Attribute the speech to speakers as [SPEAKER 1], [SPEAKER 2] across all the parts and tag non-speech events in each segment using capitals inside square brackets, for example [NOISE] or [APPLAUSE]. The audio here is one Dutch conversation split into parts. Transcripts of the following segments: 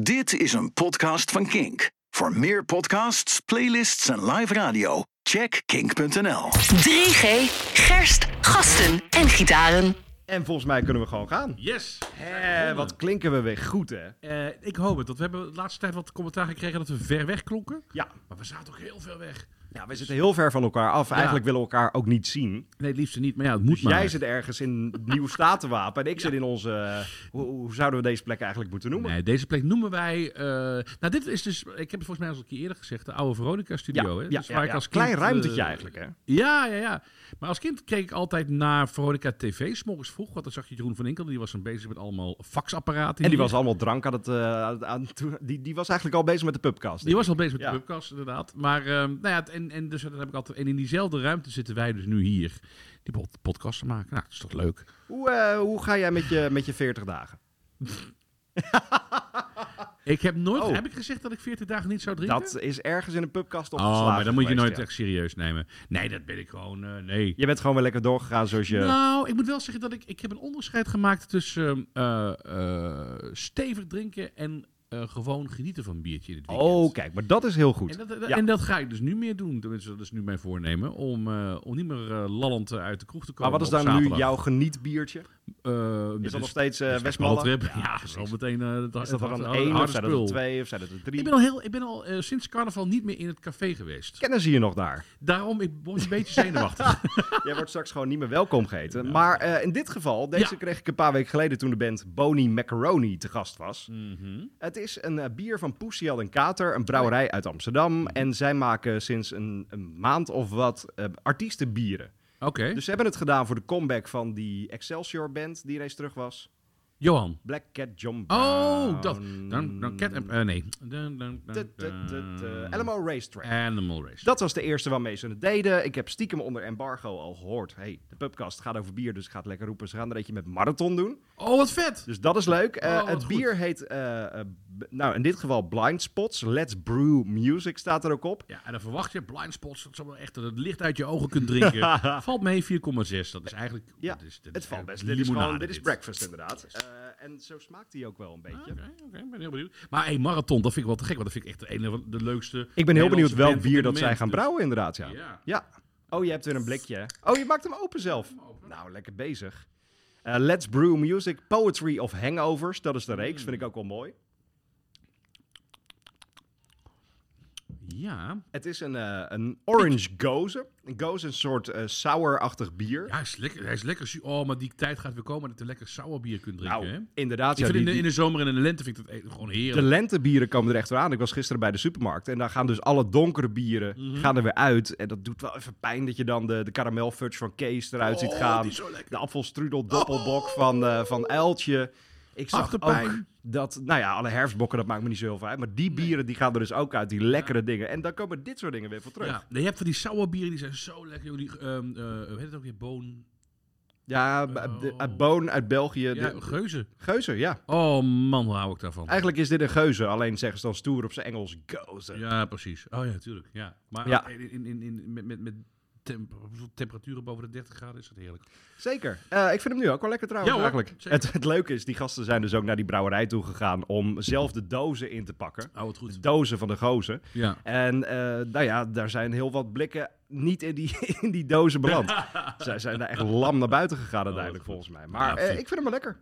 [SPEAKER 1] Dit is een podcast van Kink. Voor meer podcasts, playlists en live radio, check kink.nl.
[SPEAKER 2] 3G, gerst, gasten en gitaren.
[SPEAKER 3] En volgens mij kunnen we gewoon gaan.
[SPEAKER 4] Yes!
[SPEAKER 3] Hé, wat klinken we weer goed, hè?
[SPEAKER 4] Eh, ik hoop het. Want we hebben de laatste tijd wat commentaar gekregen dat we ver weg klonken.
[SPEAKER 3] Ja.
[SPEAKER 4] Maar we zaten ook heel veel weg.
[SPEAKER 3] ja, we zitten heel ver van elkaar af. Eigenlijk willen we elkaar ook niet zien.
[SPEAKER 4] Nee, het liefste niet. Maar ja, het moet
[SPEAKER 3] Dus
[SPEAKER 4] maar.
[SPEAKER 3] jij zit ergens in Nieuw-Statenwapen en ik zit in onze... eh, Hoe, hoe zouden we deze plek eigenlijk moeten noemen?
[SPEAKER 4] Nee, deze plek noemen wij... eh, nou, dit is dus... Ik heb het volgens mij al een keer eerder gezegd. De oude Veronica-studio. hè? Dus waar ik als kind,
[SPEAKER 3] Klein ruimtetje
[SPEAKER 4] eh,
[SPEAKER 3] eigenlijk, hè?
[SPEAKER 4] Ja, ja, ja. Maar als kind keek ik altijd naar Veronica TV. 's morgens vroeg. Want dan zag je Jeroen van Inkel. Die was dan bezig met allemaal faxapparaten.
[SPEAKER 3] En die
[SPEAKER 4] hier.
[SPEAKER 3] was allemaal drank aan het... eh, aan- aan, toe- die, die was eigenlijk al bezig met de pubcast.
[SPEAKER 4] Die was al bezig met
[SPEAKER 3] Ja.
[SPEAKER 4] de webcast, inderdaad. Maar ehm, nou ja, het- en, en, dus, dat heb ik altijd, en in diezelfde ruimte zitten wij dus nu hier. Die pod- podcast te maken. Nou, dat is toch leuk.
[SPEAKER 3] Hoe, eh, hoe ga jij met je, met je 40 dagen?
[SPEAKER 4] Ik heb nooit...
[SPEAKER 3] Oh.
[SPEAKER 4] Heb ik gezegd dat ik 40 dagen niet zou drinken?
[SPEAKER 3] Dat is ergens in een pubcast opgeslagen
[SPEAKER 4] Oh, maar dan moet je
[SPEAKER 3] geweest,
[SPEAKER 4] nooit
[SPEAKER 3] ja.
[SPEAKER 4] echt serieus nemen. Nee, dat ben ik gewoon... eh, nee.
[SPEAKER 3] Je bent gewoon weer lekker doorgegaan zoals je...
[SPEAKER 4] Nou, ik moet wel zeggen dat ik... Ik heb een onderscheid gemaakt tussen eh, eh, stevig drinken en eh, gewoon genieten van een biertje in het weekend.
[SPEAKER 3] oh, kijk, maar dat is heel goed.
[SPEAKER 4] En dat, dat-
[SPEAKER 3] Ja.
[SPEAKER 4] en dat ga ik dus nu meer doen. Tenminste, dat is nu mijn voornemen. Om, eh, om niet meer eh, lallend eh, uit de kroeg te
[SPEAKER 3] maar
[SPEAKER 4] komen.
[SPEAKER 3] wat is
[SPEAKER 4] op
[SPEAKER 3] dan nu
[SPEAKER 4] zaterdag.
[SPEAKER 3] jouw genietbiertje?
[SPEAKER 4] Eh,
[SPEAKER 3] Is
[SPEAKER 4] dus-
[SPEAKER 3] dat nog steeds eh
[SPEAKER 4] dus
[SPEAKER 3] Westmalle?
[SPEAKER 4] Ballentrip. Ja, dat is al meteen eh, het-
[SPEAKER 3] Is dat er
[SPEAKER 4] het-
[SPEAKER 3] een
[SPEAKER 4] het- het
[SPEAKER 3] één of
[SPEAKER 4] harde
[SPEAKER 3] zijn dat er
[SPEAKER 4] spul.
[SPEAKER 3] twee of zijn dat er drie?
[SPEAKER 4] Ik ben al, heel, ik ben al eh, sinds carnaval niet meer in het café geweest.
[SPEAKER 3] Kennen ze je nog
[SPEAKER 4] [LAUGHS]
[SPEAKER 3] daar?
[SPEAKER 4] Daarom ik word een beetje
[SPEAKER 3] [LAUGHS]
[SPEAKER 4] zenuwachtig.
[SPEAKER 3] Jij wordt straks gewoon niet meer welkom geheten. Maar eh, in dit geval, deze
[SPEAKER 4] Ja.
[SPEAKER 3] kreeg ik een paar weken geleden toen de band Boni Macaroni te gast was.
[SPEAKER 4] Mhm.
[SPEAKER 3] Het is een eh, bier van Poesiel en Kater, een brouwerij uit Amsterdam. En zij maken sinds een, een maand of wat eh, artiestenbieren.
[SPEAKER 4] Oké.
[SPEAKER 3] Dus ze hebben het gedaan voor de comeback van die Excelsior band die reeds terug was.
[SPEAKER 4] Johan.
[SPEAKER 3] Black Cat John
[SPEAKER 4] Oh,
[SPEAKER 3] Brown.
[SPEAKER 4] dat. Dan, dan cat en... eh, nee. Dan, dan, dan,
[SPEAKER 3] Nou, Tut, tut, tut, eh,
[SPEAKER 4] dan-
[SPEAKER 3] Alamo Racetrack.
[SPEAKER 4] Animal Race.
[SPEAKER 3] Dat was de eerste waarmee ze het deden. Ik heb stiekem onder embargo al gehoord. hey, de pubcast gaat over bier, dus gaat lekker roepen. Ze gaan er eentje met marathon doen.
[SPEAKER 4] Oh, wat vet!
[SPEAKER 3] Dus dat is leuk. Eh,
[SPEAKER 4] Oh, wat
[SPEAKER 3] het
[SPEAKER 4] goed.
[SPEAKER 3] bier heet, eh, eh, b- nou in dit geval Blind Spots. Let's Brew Music staat er ook op.
[SPEAKER 4] Ja, en dan verwacht je blind spots. Dat zal wel echt dat het licht uit je ogen kunt
[SPEAKER 3] [LAUGHS]
[SPEAKER 4] drinken. valt mee 4,6. Dat is eigenlijk...
[SPEAKER 3] Ja,
[SPEAKER 4] dat is, dat
[SPEAKER 3] het
[SPEAKER 4] is
[SPEAKER 3] valt
[SPEAKER 4] eigenlijk
[SPEAKER 3] best. Dit is, gewoon,
[SPEAKER 4] limonade,
[SPEAKER 3] dit is breakfast inderdaad. Eh, en zo smaakt hij ook wel een beetje.
[SPEAKER 4] Oké, oké, ik ben heel benieuwd. Maar hey, marathon, dat vind ik wel te gek, want dat vind ik echt de, ene, van de leukste.
[SPEAKER 3] Ik ben heel
[SPEAKER 4] Nederlandse
[SPEAKER 3] benieuwd welk
[SPEAKER 4] band op
[SPEAKER 3] bier
[SPEAKER 4] dit
[SPEAKER 3] dat zij
[SPEAKER 4] moment.
[SPEAKER 3] gaan
[SPEAKER 4] Dus-
[SPEAKER 3] brouwen inderdaad. Ja.
[SPEAKER 4] Ja.
[SPEAKER 3] Ja. Oh, je hebt weer een blikje. hè? Oh, je maakt hem open zelf. Nou, lekker bezig. Eh, Let's Brew Music, Poetry of Hangovers. Dat is de reeks,
[SPEAKER 4] Mm.
[SPEAKER 3] vind ik ook wel mooi.
[SPEAKER 4] Dus, Ja,
[SPEAKER 3] Het is een, eh, een orange gozer. Een gozer is een soort eh sour-achtig bier.
[SPEAKER 4] ja hij, is lekker, hij is lekker. zuur. Oh, maar die tijd gaat weer komen dat je lekker sour bier kunt drinken.
[SPEAKER 3] nou,
[SPEAKER 4] hè? Ik
[SPEAKER 3] inderdaad. Ja,
[SPEAKER 4] vind
[SPEAKER 3] die-
[SPEAKER 4] in, de,
[SPEAKER 3] die-
[SPEAKER 4] in de zomer en in de lente vind ik dat echt gewoon
[SPEAKER 3] de
[SPEAKER 4] heerlijk.
[SPEAKER 3] lentebieren komen er echt weer aan. Ik was gisteren bij de supermarkt en daar gaan dus alle donkere bieren
[SPEAKER 4] Mhm.
[SPEAKER 3] gaan er weer uit. En dat doet wel even pijn dat je dan de, de karamelfudge van Kees eruit ziet
[SPEAKER 4] Oh,
[SPEAKER 3] gaan. Nou,
[SPEAKER 4] die is zo lekker.
[SPEAKER 3] De appelstrudel doppelbok van, eh, van Uiltje. Ik zag
[SPEAKER 4] Achterpijn.
[SPEAKER 3] ook dat, nou ja, alle herfstbokken, dat maakt me niet zo heel veel uit. Maar die bieren die gaan er dus ook uit, die lekkere dingen. En dan komen dit soort dingen weer voor terug.
[SPEAKER 4] Ja, nee, je hebt van die sour bieren, die zijn zo lekker. Joh, die, ehm, eh, hoe heet het ook weer? Boon.
[SPEAKER 3] Ja, b-
[SPEAKER 4] Oh.
[SPEAKER 3] de- uit Boon, uit België.
[SPEAKER 4] Ja,
[SPEAKER 3] de,
[SPEAKER 4] geuzen.
[SPEAKER 3] geuzen, ja.
[SPEAKER 4] Oh man, hoe hou ik daarvan?
[SPEAKER 3] Eigenlijk is dit een geuze, alleen zeggen ze dan stoer op zijn Engels gozer.
[SPEAKER 4] Ja, precies. Oh ja, tuurlijk. Ja. Maar
[SPEAKER 3] Ja.
[SPEAKER 4] In, in, in, in- met, met, met temp- temperaturen boven de 30 graden is dat heerlijk.
[SPEAKER 3] Zeker. Eh, ik vind hem nu ook wel lekker trouwens
[SPEAKER 4] Ja hoor,
[SPEAKER 3] eigenlijk.
[SPEAKER 4] zeker.
[SPEAKER 3] Het, het leuke is, die gasten zijn dus ook naar die brouwerij toe gegaan om zelf de dozen in te pakken.
[SPEAKER 4] Oh, het
[SPEAKER 3] De
[SPEAKER 4] goed.
[SPEAKER 3] dozen van de gozer.
[SPEAKER 4] Ja.
[SPEAKER 3] En eh, nou ja, daar zijn heel wat blikken niet in die, [LAUGHS] in die dozen beland.
[SPEAKER 4] [LAUGHS]
[SPEAKER 3] Zij zijn daar echt lam naar buiten gegaan uiteindelijk
[SPEAKER 4] wat
[SPEAKER 3] volgens mij. Maar
[SPEAKER 4] Ja,
[SPEAKER 3] eh,
[SPEAKER 4] vind-
[SPEAKER 3] ik vind hem wel lekker.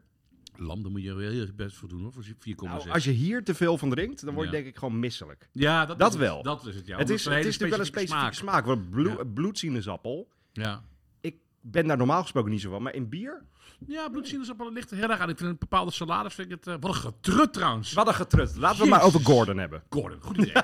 [SPEAKER 4] Lam, daar moet je wel heel erg best voor doen hoor, voor 4,6.
[SPEAKER 3] Nou, als je hier te veel van drinkt, dan word je
[SPEAKER 4] Ja.
[SPEAKER 3] denk ik gewoon misselijk.
[SPEAKER 4] Ja, dat,
[SPEAKER 3] Dat
[SPEAKER 4] is
[SPEAKER 3] wel.
[SPEAKER 4] Het. Dat is het, ja.
[SPEAKER 3] het
[SPEAKER 4] Omdat
[SPEAKER 3] is,
[SPEAKER 4] een
[SPEAKER 3] het
[SPEAKER 4] hele
[SPEAKER 3] is natuurlijk wel een specifieke smaak. want bloe-
[SPEAKER 4] Ja.
[SPEAKER 3] bloedsinusappel,
[SPEAKER 4] Ja.
[SPEAKER 3] ik ben daar normaal gesproken niet zo van, maar in bier?
[SPEAKER 4] Ja, bloedsinaasappel ligt er heel erg aan. Ik vind een bepaalde salades, vind ik het... eh, wat een getrut trouwens.
[SPEAKER 3] Wat een getrut. Laten we
[SPEAKER 4] Jezus.
[SPEAKER 3] maar over Gordon hebben.
[SPEAKER 4] Gordon, goed idee.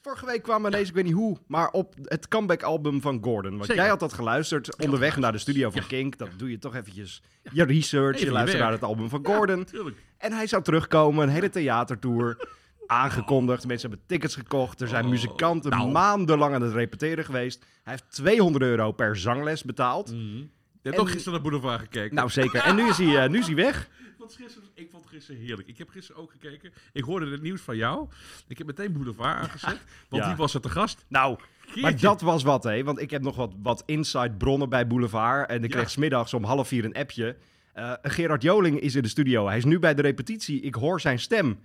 [SPEAKER 3] Vorige week kwamen we ineens, ik weet niet hoe, maar op het comeback-album van Gordon. Want
[SPEAKER 4] Zeker.
[SPEAKER 3] jij had dat geluisterd onderweg naar de studio van
[SPEAKER 4] Ja.
[SPEAKER 3] Kink. Dat doe je toch eventjes je research,
[SPEAKER 4] Even
[SPEAKER 3] je
[SPEAKER 4] je
[SPEAKER 3] luistert
[SPEAKER 4] werk.
[SPEAKER 3] naar het album van [LAUGHS]
[SPEAKER 4] Ja,
[SPEAKER 3] Gordon.
[SPEAKER 4] tuurlijk.
[SPEAKER 3] En hij zou terugkomen, een hele theatertour. [LAUGHS] Aangekondigd, mensen hebben tickets gekocht. Er zijn
[SPEAKER 4] Oh,
[SPEAKER 3] muzikanten
[SPEAKER 4] nou.
[SPEAKER 3] maandenlang aan het repeteren geweest. Hij heeft 200 euro per zangles betaald.
[SPEAKER 4] Mm. Je hebt
[SPEAKER 3] En-
[SPEAKER 4] ook gisteren naar Boulevard gekeken.
[SPEAKER 3] Nou zeker. En nu is hij, eh, nu is hij weg.
[SPEAKER 4] Want gisteren, ik vond gisteren heerlijk. Ik heb gisteren ook gekeken. Ik hoorde het nieuws van jou. Ik heb meteen Boulevard aangezet. Want
[SPEAKER 3] Ja.
[SPEAKER 4] die was er te gast.
[SPEAKER 3] Nou, maar
[SPEAKER 4] Geertje.
[SPEAKER 3] dat was wat, hè? Want ik heb nog wat, wat inside bronnen bij Boulevard. En ik
[SPEAKER 4] Ja.
[SPEAKER 3] kreeg smiddags om half vier een appje. Eh, Gerard Joling is in de studio. Hij is nu bij de repetitie. Ik hoor zijn stem.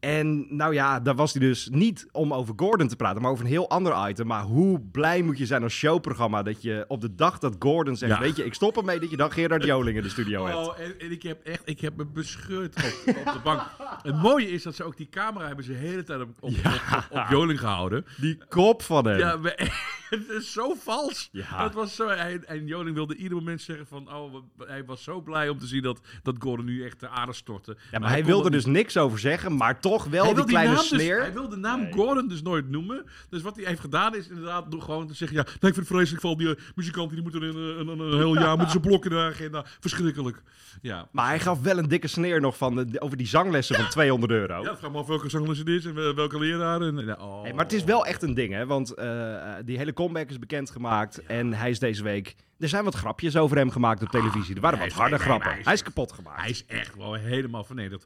[SPEAKER 3] En nou ja, daar was hij dus niet om over Gordon te praten, maar over een heel ander item. Maar hoe blij moet je zijn als showprogramma dat je op de dag dat Gordon zegt,
[SPEAKER 4] Ja.
[SPEAKER 3] weet je, ik stop ermee, dat je dan Gerard Joling in de studio hebt.
[SPEAKER 4] Oh, en, en ik heb echt, ik heb me bescheurd op, op de bank.
[SPEAKER 3] [LAUGHS]
[SPEAKER 4] Het mooie is dat ze ook die camera hebben ze de hele tijd op, op, op, op Joling gehouden.
[SPEAKER 3] Die kop van hem.
[SPEAKER 4] Ja, we- [LAUGHS] het is zo vals.
[SPEAKER 3] Ja.
[SPEAKER 4] Het was zo, en, en Joling wilde ieder moment zeggen van, oh, we- hij was zo blij om te zien dat, dat Gordon nu echt de aarde stortte.
[SPEAKER 3] Ja, maar hij
[SPEAKER 4] kon
[SPEAKER 3] wilde
[SPEAKER 4] dat
[SPEAKER 3] dus niks over zeggen, maar toch wel die
[SPEAKER 4] Hij wil die
[SPEAKER 3] kleine
[SPEAKER 4] naam dus-
[SPEAKER 3] sneer.
[SPEAKER 4] hij wil de naam Gordon dus nooit noemen. Dus wat hij heeft gedaan is inderdaad door gewoon te zeggen... Ja, nee, ik vind het vreselijk van die eh, muzikanten. Die moeten een, een, een, een
[SPEAKER 3] [LAUGHS]
[SPEAKER 4] heel jaar moeten ze blokken in de agenda. Verschrikkelijk. Ja.
[SPEAKER 3] Maar hij gaf wel een dikke sneer nog van de- over die zanglessen van 200 euro.
[SPEAKER 4] Ja, vraag me af welke zanger het is en wel- welke leraar. En, en- oh.
[SPEAKER 3] Hey, maar het is wel echt een ding, hè? Want eh, die hele comeback is bekendgemaakt. En hij is deze week. Er zijn wat grapjes over hem gemaakt op televisie. Er waren
[SPEAKER 4] hij
[SPEAKER 3] wat
[SPEAKER 4] is-
[SPEAKER 3] harde
[SPEAKER 4] Ah, nee, nee,
[SPEAKER 3] grappen.
[SPEAKER 4] maar hij is-
[SPEAKER 3] hij is kapot gemaakt.
[SPEAKER 4] Hij is echt wel helemaal vernederd.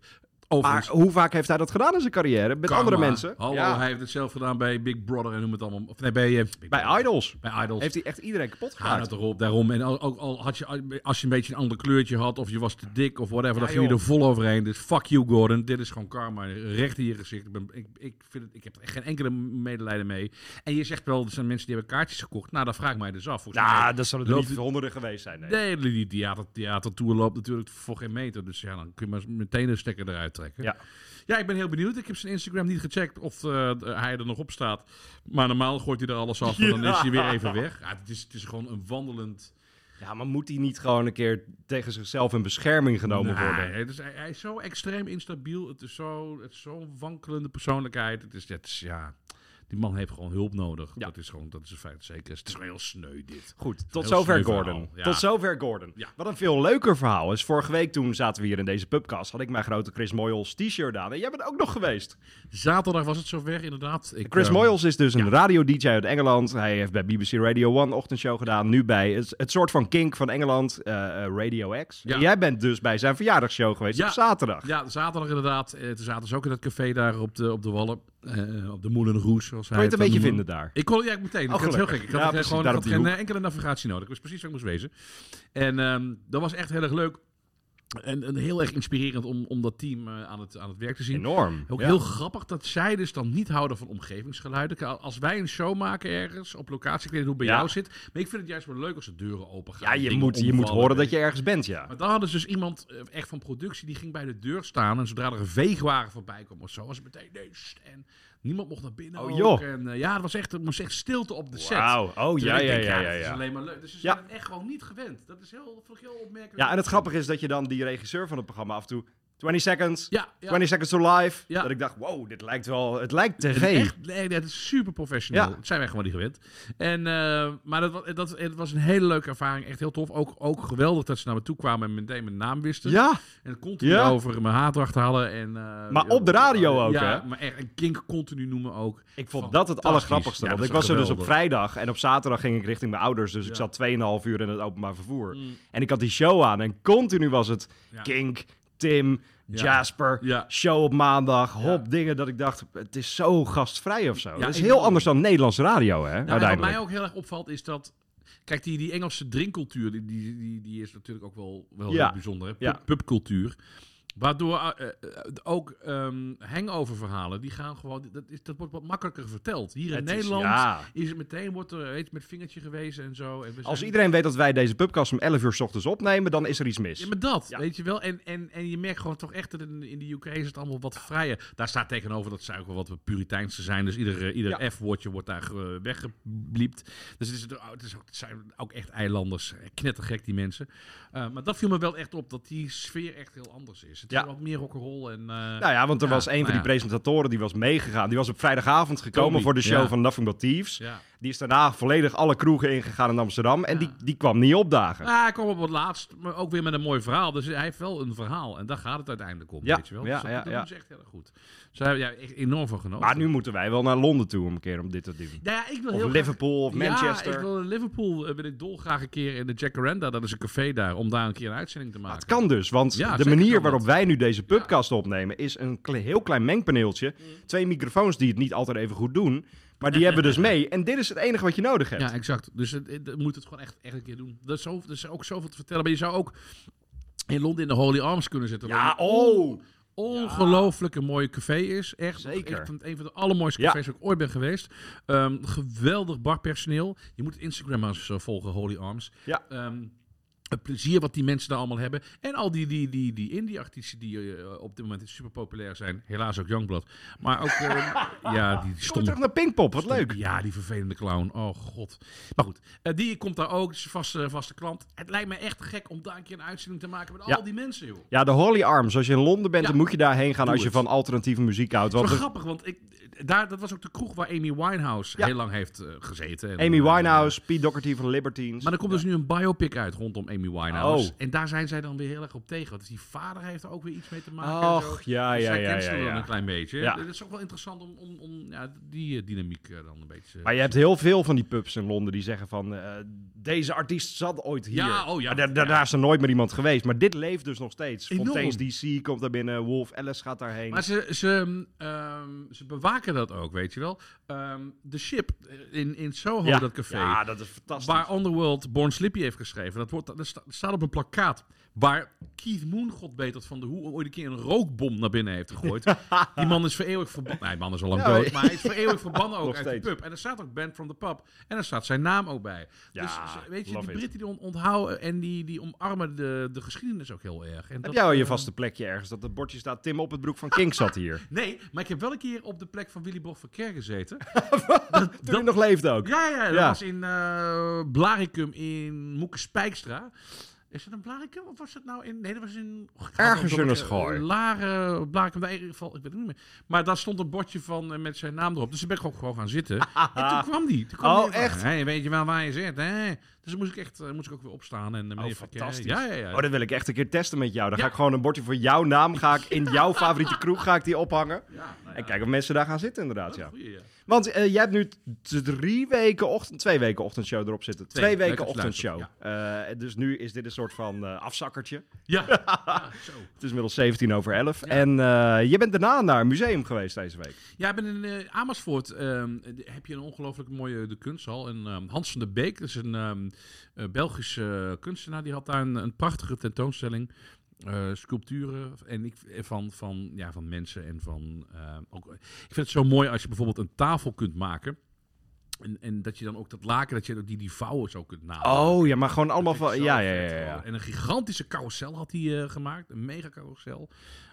[SPEAKER 3] maar
[SPEAKER 4] Overigens,
[SPEAKER 3] hoe vaak heeft hij dat gedaan in zijn carrière? Met
[SPEAKER 4] karma.
[SPEAKER 3] andere mensen?
[SPEAKER 4] Hallo,
[SPEAKER 3] Ja.
[SPEAKER 4] Oh, hij heeft het zelf gedaan bij Big Brother en noem het allemaal. Of nee, bij, eh, Big Brother.
[SPEAKER 3] Bij Idols
[SPEAKER 4] bij Idols.
[SPEAKER 3] heeft hij echt iedereen kapot
[SPEAKER 4] Ga
[SPEAKER 3] gemaakt.
[SPEAKER 4] het erop, daarom. En al- ook al had je, als je een beetje een ander kleurtje had, of je was te dik of whatever, dan ging je
[SPEAKER 3] joh.
[SPEAKER 4] er vol overheen. Dus fuck you, Gordon. Dit is gewoon karma. Recht in je gezicht. Ik, ben, ik, ik, vind het, ik heb er echt geen enkele medelijden mee. En je zegt wel, er zijn mensen die hebben kaartjes gekocht. Nou, dat vraag ik mij dus af. Volgens mij
[SPEAKER 3] nou, dat zullen er
[SPEAKER 4] loopt
[SPEAKER 3] niet honderden geweest zijn. Nee.
[SPEAKER 4] de hele theater, theatertour loopt natuurlijk voor geen meter. Dus ja, dan kun je maar meteen de stekker eruit trekken.
[SPEAKER 3] Ja.
[SPEAKER 4] ja, ik ben heel benieuwd. Ik heb zijn Instagram niet gecheckt of eh, d- hij er nog op staat. Maar normaal gooit hij er alles af en dan is hij weer even weg. Ja, het, is, het is gewoon een wandelend...
[SPEAKER 3] Ja, maar moet hij niet gewoon een keer tegen zichzelf in bescherming genomen
[SPEAKER 4] Nee,
[SPEAKER 3] worden?
[SPEAKER 4] het is, hij, hij is zo extreem instabiel. Het is zo- het is zo'n wankelende persoonlijkheid. Het is, het is, ja, die man heeft gewoon hulp nodig.
[SPEAKER 3] Ja.
[SPEAKER 4] Dat is gewoon, dat is een feit zeker. Het is gewoon heel sneu dit.
[SPEAKER 3] Goed, tot
[SPEAKER 4] Heel
[SPEAKER 3] zover
[SPEAKER 4] sneu
[SPEAKER 3] Gordon.
[SPEAKER 4] verhaal, ja.
[SPEAKER 3] Tot zover Gordon.
[SPEAKER 4] Ja.
[SPEAKER 3] Wat een veel leuker verhaal is. Vorige week toen zaten we hier in deze pubcast, had ik mijn grote Chris Moyles t-shirt aan. En jij bent ook nog geweest. Zaterdag.
[SPEAKER 4] Zaterdag was het zover, inderdaad. Ik,
[SPEAKER 3] Chris
[SPEAKER 4] ehm,
[SPEAKER 3] Moyles is dus een radio-dj uit Engeland. Hij heeft bij BBC Radio 1 ochtendshow gedaan. Nu bij het, het soort van kink van Engeland, eh, eh, Radio X.
[SPEAKER 4] Ja.
[SPEAKER 3] En jij bent dus bij zijn verjaardagsshow geweest
[SPEAKER 4] Ja.
[SPEAKER 3] op zaterdag.
[SPEAKER 4] Ja, zaterdag inderdaad. Eh, Toen zaten ze ook in dat café daar op de, op de Wallen. Eh, op de Moulin Rouge, zoals hij
[SPEAKER 3] Kon je het een beetje
[SPEAKER 4] dan
[SPEAKER 3] vinden
[SPEAKER 4] noemde.
[SPEAKER 3] daar?
[SPEAKER 4] Ik kon ja, ik meteen.
[SPEAKER 3] Oh,
[SPEAKER 4] ik had het heel gek.
[SPEAKER 3] gelukkig.
[SPEAKER 4] Ik had,
[SPEAKER 3] Ja,
[SPEAKER 4] het
[SPEAKER 3] precies,
[SPEAKER 4] gewoon, ik
[SPEAKER 3] daar
[SPEAKER 4] had
[SPEAKER 3] op die
[SPEAKER 4] geen eh, enkele navigatie nodig. Ik wist precies waar ik moest wezen. En ehm, dat was echt heel erg leuk. En, en heel erg inspirerend om, om dat team eh, aan, het, aan het werk te zien.
[SPEAKER 3] Enorm.
[SPEAKER 4] Ook
[SPEAKER 3] Ja.
[SPEAKER 4] heel grappig dat zij dus dan niet houden van omgevingsgeluiden. Kijk, Als wij een show maken ergens op locatie, ik weet niet hoe het bij
[SPEAKER 3] Ja.
[SPEAKER 4] jou zit. Maar ik vind het juist wel leuk als de deuren open gaan.
[SPEAKER 3] Ja, je
[SPEAKER 4] dingen
[SPEAKER 3] moet, je moet
[SPEAKER 4] omvallen.
[SPEAKER 3] horen dat je ergens bent, ja.
[SPEAKER 4] Maar daar hadden ze dus iemand eh, echt van productie, die ging bij de deur staan. En zodra er een veegwagen voorbij kwam of zo, was het meteen nee, sst, En niemand mocht naar binnen
[SPEAKER 3] Oh,
[SPEAKER 4] ook.
[SPEAKER 3] joh.
[SPEAKER 4] En eh, ja, er was echt, er moest echt stilte op de set.
[SPEAKER 3] Wauw. Oh,
[SPEAKER 4] Terwijl
[SPEAKER 3] ja,
[SPEAKER 4] ik
[SPEAKER 3] ja,
[SPEAKER 4] denk,
[SPEAKER 3] ja, ja.
[SPEAKER 4] dat is
[SPEAKER 3] ja.
[SPEAKER 4] alleen maar leuk. Dus ze
[SPEAKER 3] Ja.
[SPEAKER 4] zijn het echt gewoon niet gewend. Dat is heel, vond ik heel opmerkelijk.
[SPEAKER 3] Ja, en het grappige is dat je dan die regisseur van het programma af en toe... 20 seconds,
[SPEAKER 4] Ja, ja.
[SPEAKER 3] 20 seconds to live.
[SPEAKER 4] Ja.
[SPEAKER 3] Dat ik dacht, wow, dit lijkt wel... Het lijkt tv.
[SPEAKER 4] Het is echt, nee, dat is super professioneel.
[SPEAKER 3] Ja.
[SPEAKER 4] Dat zijn wij gewoon niet gewend. En, eh, maar dat, wa- dat, het was een hele leuke ervaring. Echt heel tof. Ook, ook geweldig dat ze naar me toe kwamen en meteen mijn naam wisten.
[SPEAKER 3] ja.
[SPEAKER 4] En continu
[SPEAKER 3] Ja.
[SPEAKER 4] over mijn haatdracht halen. En, eh,
[SPEAKER 3] Maar op de radio ook,
[SPEAKER 4] ja,
[SPEAKER 3] hè?
[SPEAKER 4] maar echt, en Kink continu noemen ook.
[SPEAKER 3] Ik vond dat het allergrappigste. want ik was er dus op vrijdag en op zaterdag ging ik richting mijn ouders. Dus ik zat 2,5 uur in het openbaar vervoer. En ik had die show aan en continu was het
[SPEAKER 4] Mm. Ja.
[SPEAKER 3] Kink, Tim,
[SPEAKER 4] Ja.
[SPEAKER 3] Jasper,
[SPEAKER 4] Ja.
[SPEAKER 3] show op maandag, hop, dingen dat ik dacht, het is zo gastvrij of zo. dat is
[SPEAKER 4] ik
[SPEAKER 3] heel
[SPEAKER 4] bedoel-
[SPEAKER 3] anders dan Nederlandse radio, hè,
[SPEAKER 4] Nou, en wat
[SPEAKER 3] uiteindelijk.
[SPEAKER 4] mij ook heel erg opvalt is dat... Kijk, die, die Engelse drinkcultuur, die, die, die, die is natuurlijk ook wel, wel
[SPEAKER 3] Ja.
[SPEAKER 4] heel bijzonder. Hè? Pub-
[SPEAKER 3] Ja.
[SPEAKER 4] Pubcultuur. Waardoor eh, eh, ook ehm hangover-verhalen, die gaan gewoon... Dat, is, dat wordt wat makkelijker verteld. Hier in
[SPEAKER 3] Het is-
[SPEAKER 4] Nederland is,
[SPEAKER 3] ja.
[SPEAKER 4] het meteen wordt er weet, je, met vingertje gewezen en zo. En we
[SPEAKER 3] Als
[SPEAKER 4] zijn-
[SPEAKER 3] iedereen weet dat wij deze podcast om 11 uur 's ochtends opnemen, dan is er iets mis.
[SPEAKER 4] Ja, maar dat,
[SPEAKER 3] Ja.
[SPEAKER 4] weet je wel. En, en, en je merkt gewoon toch echt dat in, in de UK is het allemaal wat vrijer. Daar staat tegenover dat zij ook wel wat puriteinse zijn. Dus ieder, eh, ieder F-woordje wordt daar eh, weggebliept. Dus het, is, het, het, is ook, het zijn ook echt eilanders. Eh, Knettergek, die mensen. Eh, maar dat viel me wel echt op, dat die sfeer echt heel anders is. Het
[SPEAKER 3] Ja.
[SPEAKER 4] is wat meer rock'n'roll en... eh,
[SPEAKER 3] Nou ja, want er
[SPEAKER 4] Ja,
[SPEAKER 3] was een van
[SPEAKER 4] nou
[SPEAKER 3] die
[SPEAKER 4] ja.
[SPEAKER 3] presentatoren die was meegegaan. Die was op vrijdagavond gekomen
[SPEAKER 4] Toby,
[SPEAKER 3] voor de show
[SPEAKER 4] ja.
[SPEAKER 3] van Nothing But Thieves.
[SPEAKER 4] ja.
[SPEAKER 3] Die is daarna volledig alle kroegen ingegaan in Amsterdam. En
[SPEAKER 4] Ja.
[SPEAKER 3] die, die kwam niet opdagen.
[SPEAKER 4] Ah, hij kwam op het laatst, maar ook weer met een mooi verhaal. Dus hij heeft wel een verhaal. En daar gaat het uiteindelijk om,
[SPEAKER 3] Ja,
[SPEAKER 4] weet je wel.
[SPEAKER 3] ja,
[SPEAKER 4] dus dat,
[SPEAKER 3] ja,
[SPEAKER 4] dat
[SPEAKER 3] ja.
[SPEAKER 4] doen ze echt heel erg goed. Dus daar heb jij echt enorm van genoten.
[SPEAKER 3] Maar nu moeten wij wel naar Londen toe om een keer om dit te doen.
[SPEAKER 4] Nou ja, ik wil
[SPEAKER 3] Of
[SPEAKER 4] heel graag-
[SPEAKER 3] Liverpool of Manchester.
[SPEAKER 4] Ja, ik wil in Liverpool eh, wil ik dolgraag een keer in de Jacaranda. Dat is een café daar, om daar een keer een uitzending te
[SPEAKER 3] Maar
[SPEAKER 4] maken.
[SPEAKER 3] het kan dus, want
[SPEAKER 4] Ja,
[SPEAKER 3] de
[SPEAKER 4] zeker
[SPEAKER 3] manier
[SPEAKER 4] kan
[SPEAKER 3] waarop
[SPEAKER 4] dat.
[SPEAKER 3] wij nu deze podcast opnemen is een kle- heel klein mengpaneeltje.
[SPEAKER 4] Mm.
[SPEAKER 3] Twee microfoons die het niet altijd even goed doen, maar die
[SPEAKER 4] [LAUGHS]
[SPEAKER 3] hebben we dus mee. En dit is het enige wat je nodig hebt.
[SPEAKER 4] Ja, exact. Dus het, het- het moet het gewoon echt, echt een keer doen. Er is, zo, er is ook zoveel te vertellen. Maar je zou ook in Londen in de Holy Arms kunnen zitten.
[SPEAKER 3] Ja,
[SPEAKER 4] Waar je
[SPEAKER 3] oh!
[SPEAKER 4] ongelooflijk een mooie café is. Echt
[SPEAKER 3] Zeker.
[SPEAKER 4] Een, van, een van de allermooiste cafés waar ik ooit ben geweest. Ehm, geweldig barpersoneel. Je moet Instagram maar eens eh, volgen, Holy Arms.
[SPEAKER 3] Ja.
[SPEAKER 4] Ehm, het plezier wat die mensen daar allemaal hebben. En al die, die, die, die indie-artiesten die eh, op dit moment super populair zijn. Helaas ook Youngblood. Maar ook
[SPEAKER 3] [LAUGHS]
[SPEAKER 4] eh, ja, die
[SPEAKER 3] Kom
[SPEAKER 4] stomme
[SPEAKER 3] terug naar Pinkpop, wat leuk.
[SPEAKER 4] ja, die vervelende clown. Oh god. Maar goed, eh, die komt daar ook. Dus vaste, vaste klant. Het lijkt me echt gek om daar een keer een uitzending te maken met
[SPEAKER 3] Ja.
[SPEAKER 4] al die mensen, joh.
[SPEAKER 3] Ja, de Holly Arms. Als je in Londen bent,
[SPEAKER 4] Ja.
[SPEAKER 3] dan moet je daarheen gaan
[SPEAKER 4] Doe
[SPEAKER 3] als je
[SPEAKER 4] het.
[SPEAKER 3] van alternatieve muziek houdt.
[SPEAKER 4] Het
[SPEAKER 3] Want
[SPEAKER 4] is wel
[SPEAKER 3] er-
[SPEAKER 4] grappig, want ik, daar, dat was ook de kroeg waar Amy Winehouse
[SPEAKER 3] Ja.
[SPEAKER 4] heel lang heeft eh, gezeten. En,
[SPEAKER 3] Amy
[SPEAKER 4] eh,
[SPEAKER 3] Winehouse, Pete Doherty van Libertines.
[SPEAKER 4] Maar er komt dus nu een biopic uit rondom Amy Winehouse.
[SPEAKER 3] Oh.
[SPEAKER 4] En daar zijn zij dan weer heel erg op tegen. Want die vader heeft er ook weer iets mee te maken. en zo.
[SPEAKER 3] Och, ja,
[SPEAKER 4] Dus
[SPEAKER 3] ja,
[SPEAKER 4] zij
[SPEAKER 3] ja,
[SPEAKER 4] kent ze
[SPEAKER 3] ja,
[SPEAKER 4] dan
[SPEAKER 3] ja.
[SPEAKER 4] een klein beetje.
[SPEAKER 3] Ja.
[SPEAKER 4] Dat is ook wel interessant om, om, om ja, die eh, dynamiek eh, dan een beetje...
[SPEAKER 3] Maar je hebt heel veel van die pubs in Londen die zeggen van... eh, deze artiest zat ooit hier.
[SPEAKER 4] Ja, oh ja,
[SPEAKER 3] Maar da-
[SPEAKER 4] ja.
[SPEAKER 3] Daarna is er nooit meer iemand geweest. Maar dit leeft dus nog steeds.
[SPEAKER 4] Enorm.
[SPEAKER 3] Fontaine's DC komt daar binnen. Wolf Alice gaat daarheen.
[SPEAKER 4] Maar ze, ze, ehm, ze bewaken dat ook, weet je wel. Ehm de Ship in, in Soho,
[SPEAKER 3] ja.
[SPEAKER 4] dat café.
[SPEAKER 3] Ja, dat is fantastisch.
[SPEAKER 4] waar Underworld Born Slippy heeft geschreven. Dat, wordt, dat sta- staat op een plakkaat. Waar Keith Moon, god weet dat van de hoe, ooit een keer een rookbom naar binnen heeft gegooid. [LAUGHS] Die man is voor eeuwig verbannen. Nee, die man is al lang
[SPEAKER 3] Ja,
[SPEAKER 4] dood. Maar hij is [LAUGHS] voor eeuwig verbannen ook
[SPEAKER 3] Nog
[SPEAKER 4] uit
[SPEAKER 3] steeds.
[SPEAKER 4] de pub. En er staat ook Band from the Pub. En daar staat zijn naam ook bij.
[SPEAKER 3] Ja,
[SPEAKER 4] dus ze- weet je, die
[SPEAKER 3] love it.
[SPEAKER 4] Britten die on- onthouden en die, die omarmen de, de geschiedenis ook heel erg. En
[SPEAKER 3] Heb
[SPEAKER 4] dat,
[SPEAKER 3] jij al je
[SPEAKER 4] ehm,
[SPEAKER 3] vaste plekje ergens? Dat het bordje staat Tim op het broek van King zat
[SPEAKER 4] [LAUGHS]
[SPEAKER 3] hier.
[SPEAKER 4] Nee, maar ik heb wel een keer op de plek van Willy Boch Verker gezeten.
[SPEAKER 3] Toen hij nog leefde ook.
[SPEAKER 4] Ja, ja, dat
[SPEAKER 3] Ja.
[SPEAKER 4] was in eh Blaricum in Moeke Spijkstra. Is dat een Blaricum of was dat nou in... Nee, dat was in...
[SPEAKER 3] Ergens in een schooi.
[SPEAKER 4] school. Laren, Blaricum, daar in ieder geval, ik weet het niet meer. Maar daar stond een bordje van eh, met zijn naam erop. Dus daar ben ik ook gewoon gaan
[SPEAKER 3] [LAUGHS]
[SPEAKER 4] zitten. en toen kwam die. Toen kwam
[SPEAKER 3] Oh,
[SPEAKER 4] die van,
[SPEAKER 3] echt?
[SPEAKER 4] "Hey, weet je wel waar je zit, hè? Dus dan moest ik echt, eh, moest ik ook weer opstaan. En, eh,
[SPEAKER 3] Oh,
[SPEAKER 4] meneer Verker-
[SPEAKER 3] fantastisch.
[SPEAKER 4] Ja, ja, ja.
[SPEAKER 3] Oh, dat wil ik echt een keer testen met jou. Dan ga
[SPEAKER 4] Ja.
[SPEAKER 3] ik gewoon een bordje voor jouw naam ga ik in
[SPEAKER 4] [LAUGHS]
[SPEAKER 3] jouw favoriete kroeg ga ik die ophangen.
[SPEAKER 4] Ja, nou ja,
[SPEAKER 3] En kijken of mensen daar gaan zitten inderdaad,
[SPEAKER 4] dat is
[SPEAKER 3] ja.
[SPEAKER 4] een goeie, ja.
[SPEAKER 3] Want eh, jij hebt nu t- drie weken ochtend, twee weken ochtendshow erop zitten. Twee,
[SPEAKER 4] Twee, leuk
[SPEAKER 3] weken
[SPEAKER 4] dat je
[SPEAKER 3] ochtendshow.
[SPEAKER 4] luistert,
[SPEAKER 3] Eh, dus nu is dit een soort van eh, afzakkertje.
[SPEAKER 4] Ja,
[SPEAKER 3] [LAUGHS]
[SPEAKER 4] ja, zo.
[SPEAKER 3] Het is inmiddels 17 over 11. En eh, je bent daarna naar een museum geweest deze week.
[SPEAKER 4] Ja, ik ben in eh, Amersfoort. ehm, de- heb je een ongelooflijk mooie de kunsthal. En ehm, Hans van der Beek, dat is een ehm, eh, Belgische kunstenaar, die had daar een, een prachtige tentoonstelling. eh, sculpturen en ik, eh, van, van, ja, van mensen en van. ehm, ook, ik vind het zo mooi als je bijvoorbeeld een tafel kunt maken. En, en dat je dan ook dat laken, dat je ook die, die vouwen zo kunt nadoen.
[SPEAKER 3] Oh ja, maar gewoon allemaal
[SPEAKER 4] Vind
[SPEAKER 3] van...
[SPEAKER 4] ik
[SPEAKER 3] Ja,
[SPEAKER 4] zo
[SPEAKER 3] ja,
[SPEAKER 4] vet
[SPEAKER 3] ja,
[SPEAKER 4] gewoon.
[SPEAKER 3] ja.
[SPEAKER 4] En een gigantische carousel had hij eh, gemaakt. Een mega carousel.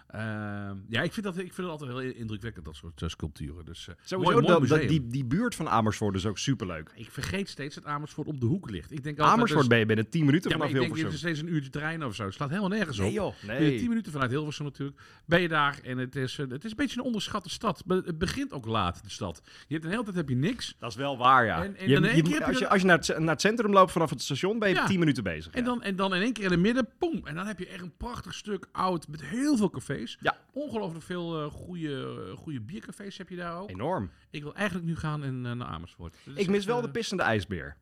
[SPEAKER 4] Ehm, ja, ik vind, dat, ik vind dat altijd heel indrukwekkend, dat soort eh, sculpturen. Dus, eh,
[SPEAKER 3] Sowieso
[SPEAKER 4] mooi, mooi
[SPEAKER 3] dat- dat,
[SPEAKER 4] museum.
[SPEAKER 3] die, die buurt van Amersfoort is ook superleuk.
[SPEAKER 4] Ik vergeet steeds dat Amersfoort op de hoek ligt. Ik denk altijd,
[SPEAKER 3] Amersfoort
[SPEAKER 4] dat
[SPEAKER 3] ben je binnen 10 minuten
[SPEAKER 4] is- ja, maar
[SPEAKER 3] vanaf
[SPEAKER 4] ik denk,
[SPEAKER 3] Hilversum.
[SPEAKER 4] dit is steeds een uurtje trein of zo. Het slaat helemaal nergens op.
[SPEAKER 3] Nee joh,
[SPEAKER 4] Ben je
[SPEAKER 3] nee.
[SPEAKER 4] tien minuten vanuit Hilversum natuurlijk. Ben je daar en het is, eh, het is een beetje een onderschatte stad. Maar Het begint ook laat, de stad. Je hebt een hele tijd heb je niks.
[SPEAKER 3] Dat is wel waar, ja.
[SPEAKER 4] En- en
[SPEAKER 3] Je-
[SPEAKER 4] dan
[SPEAKER 3] je
[SPEAKER 4] in één
[SPEAKER 3] moet-
[SPEAKER 4] keer heb je
[SPEAKER 3] als je,
[SPEAKER 4] dat-
[SPEAKER 3] als je naar, het, naar het centrum loopt vanaf het station, ben je
[SPEAKER 4] Ja.
[SPEAKER 3] 10 minuten bezig.
[SPEAKER 4] En
[SPEAKER 3] ja.
[SPEAKER 4] dan, en dan in één keer in het midden, poem. En dan heb je echt een prachtig stuk oud met heel veel cafés.
[SPEAKER 3] Ja.
[SPEAKER 4] Ongelooflijk veel eh, goede, goede biercafés heb je daar ook.
[SPEAKER 3] Enorm.
[SPEAKER 4] Ik wil eigenlijk nu gaan en, eh, naar Amersfoort. Dat is
[SPEAKER 3] Ik mis
[SPEAKER 4] echt,
[SPEAKER 3] wel
[SPEAKER 4] eh,
[SPEAKER 3] de pissende ijsbeer.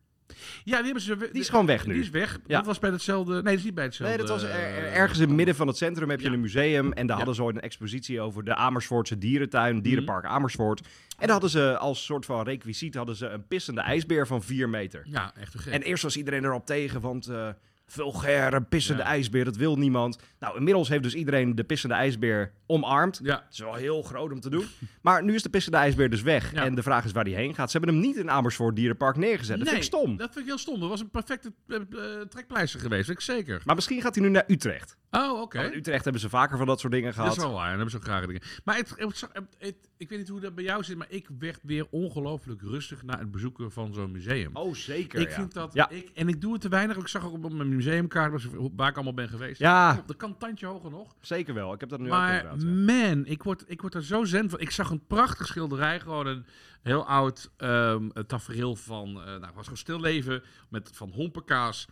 [SPEAKER 4] Ja, die hebben ze...
[SPEAKER 3] Die is gewoon weg nu.
[SPEAKER 4] Die is weg.
[SPEAKER 3] Ja.
[SPEAKER 4] Dat was bij hetzelfde... Nee, dat is niet bij hetzelfde...
[SPEAKER 3] Nee, dat was er- er-
[SPEAKER 4] eh,
[SPEAKER 3] ergens in het midden van het centrum heb je
[SPEAKER 4] Ja.
[SPEAKER 3] een museum. En daar
[SPEAKER 4] Ja. Mhm.
[SPEAKER 3] hadden ze ooit een expositie over de Amersfoortse dierentuin, dierenpark Amersfoort. En daar hadden ze als soort van requisiet hadden ze een pissende ijsbeer van 4 meter.
[SPEAKER 4] Ja, echt een gek.
[SPEAKER 3] En eerst was iedereen erop tegen, want eh vulgaire pissende
[SPEAKER 4] Ja.
[SPEAKER 3] ijsbeer, dat wil niemand. Nou, inmiddels heeft dus iedereen de pissende ijsbeer omarmd.
[SPEAKER 4] Ja.
[SPEAKER 3] Het is wel heel groot om te doen. [LAUGHS] Maar nu is de pissende ijsbeer dus weg.
[SPEAKER 4] Ja.
[SPEAKER 3] En de vraag is waar die heen gaat. Ze hebben hem niet in Amersfoort Dierenpark neergezet. Dat
[SPEAKER 4] nee,
[SPEAKER 3] vind ik stom.
[SPEAKER 4] dat vind ik heel stom. Dat was een perfecte eh, eh, trekpleister geweest, weet ik zeker.
[SPEAKER 3] Maar misschien gaat hij nu naar Utrecht.
[SPEAKER 4] Oh, oké.
[SPEAKER 3] Want in Utrecht hebben ze vaker van dat soort dingen
[SPEAKER 4] Dat
[SPEAKER 3] gehad.
[SPEAKER 4] is wel waar, en hebben ze ook graag dingen. Maar het, het- het- het- ik weet niet hoe dat bij jou zit, maar ik werd weer ongelooflijk rustig na het bezoeken van zo'n museum.
[SPEAKER 3] Oh, zeker.
[SPEAKER 4] Ik
[SPEAKER 3] ja.
[SPEAKER 4] vind dat.
[SPEAKER 3] Ja.
[SPEAKER 4] Ik, en ik doe het te weinig. Ik zag ook op mijn museumkaart was- waar ik allemaal ben geweest.
[SPEAKER 3] Ja.
[SPEAKER 4] Dat kan een tandje hoger nog.
[SPEAKER 3] Zeker wel. Ik heb dat nu ook
[SPEAKER 4] Maar
[SPEAKER 3] inderdaad. ja.
[SPEAKER 4] man, ik word, ik word er zo zen van. Ik zag een prachtig schilderij, gewoon een heel oud ehm, een tafereel van, eh, nou, het was gewoon stilleven met van hompenkaas,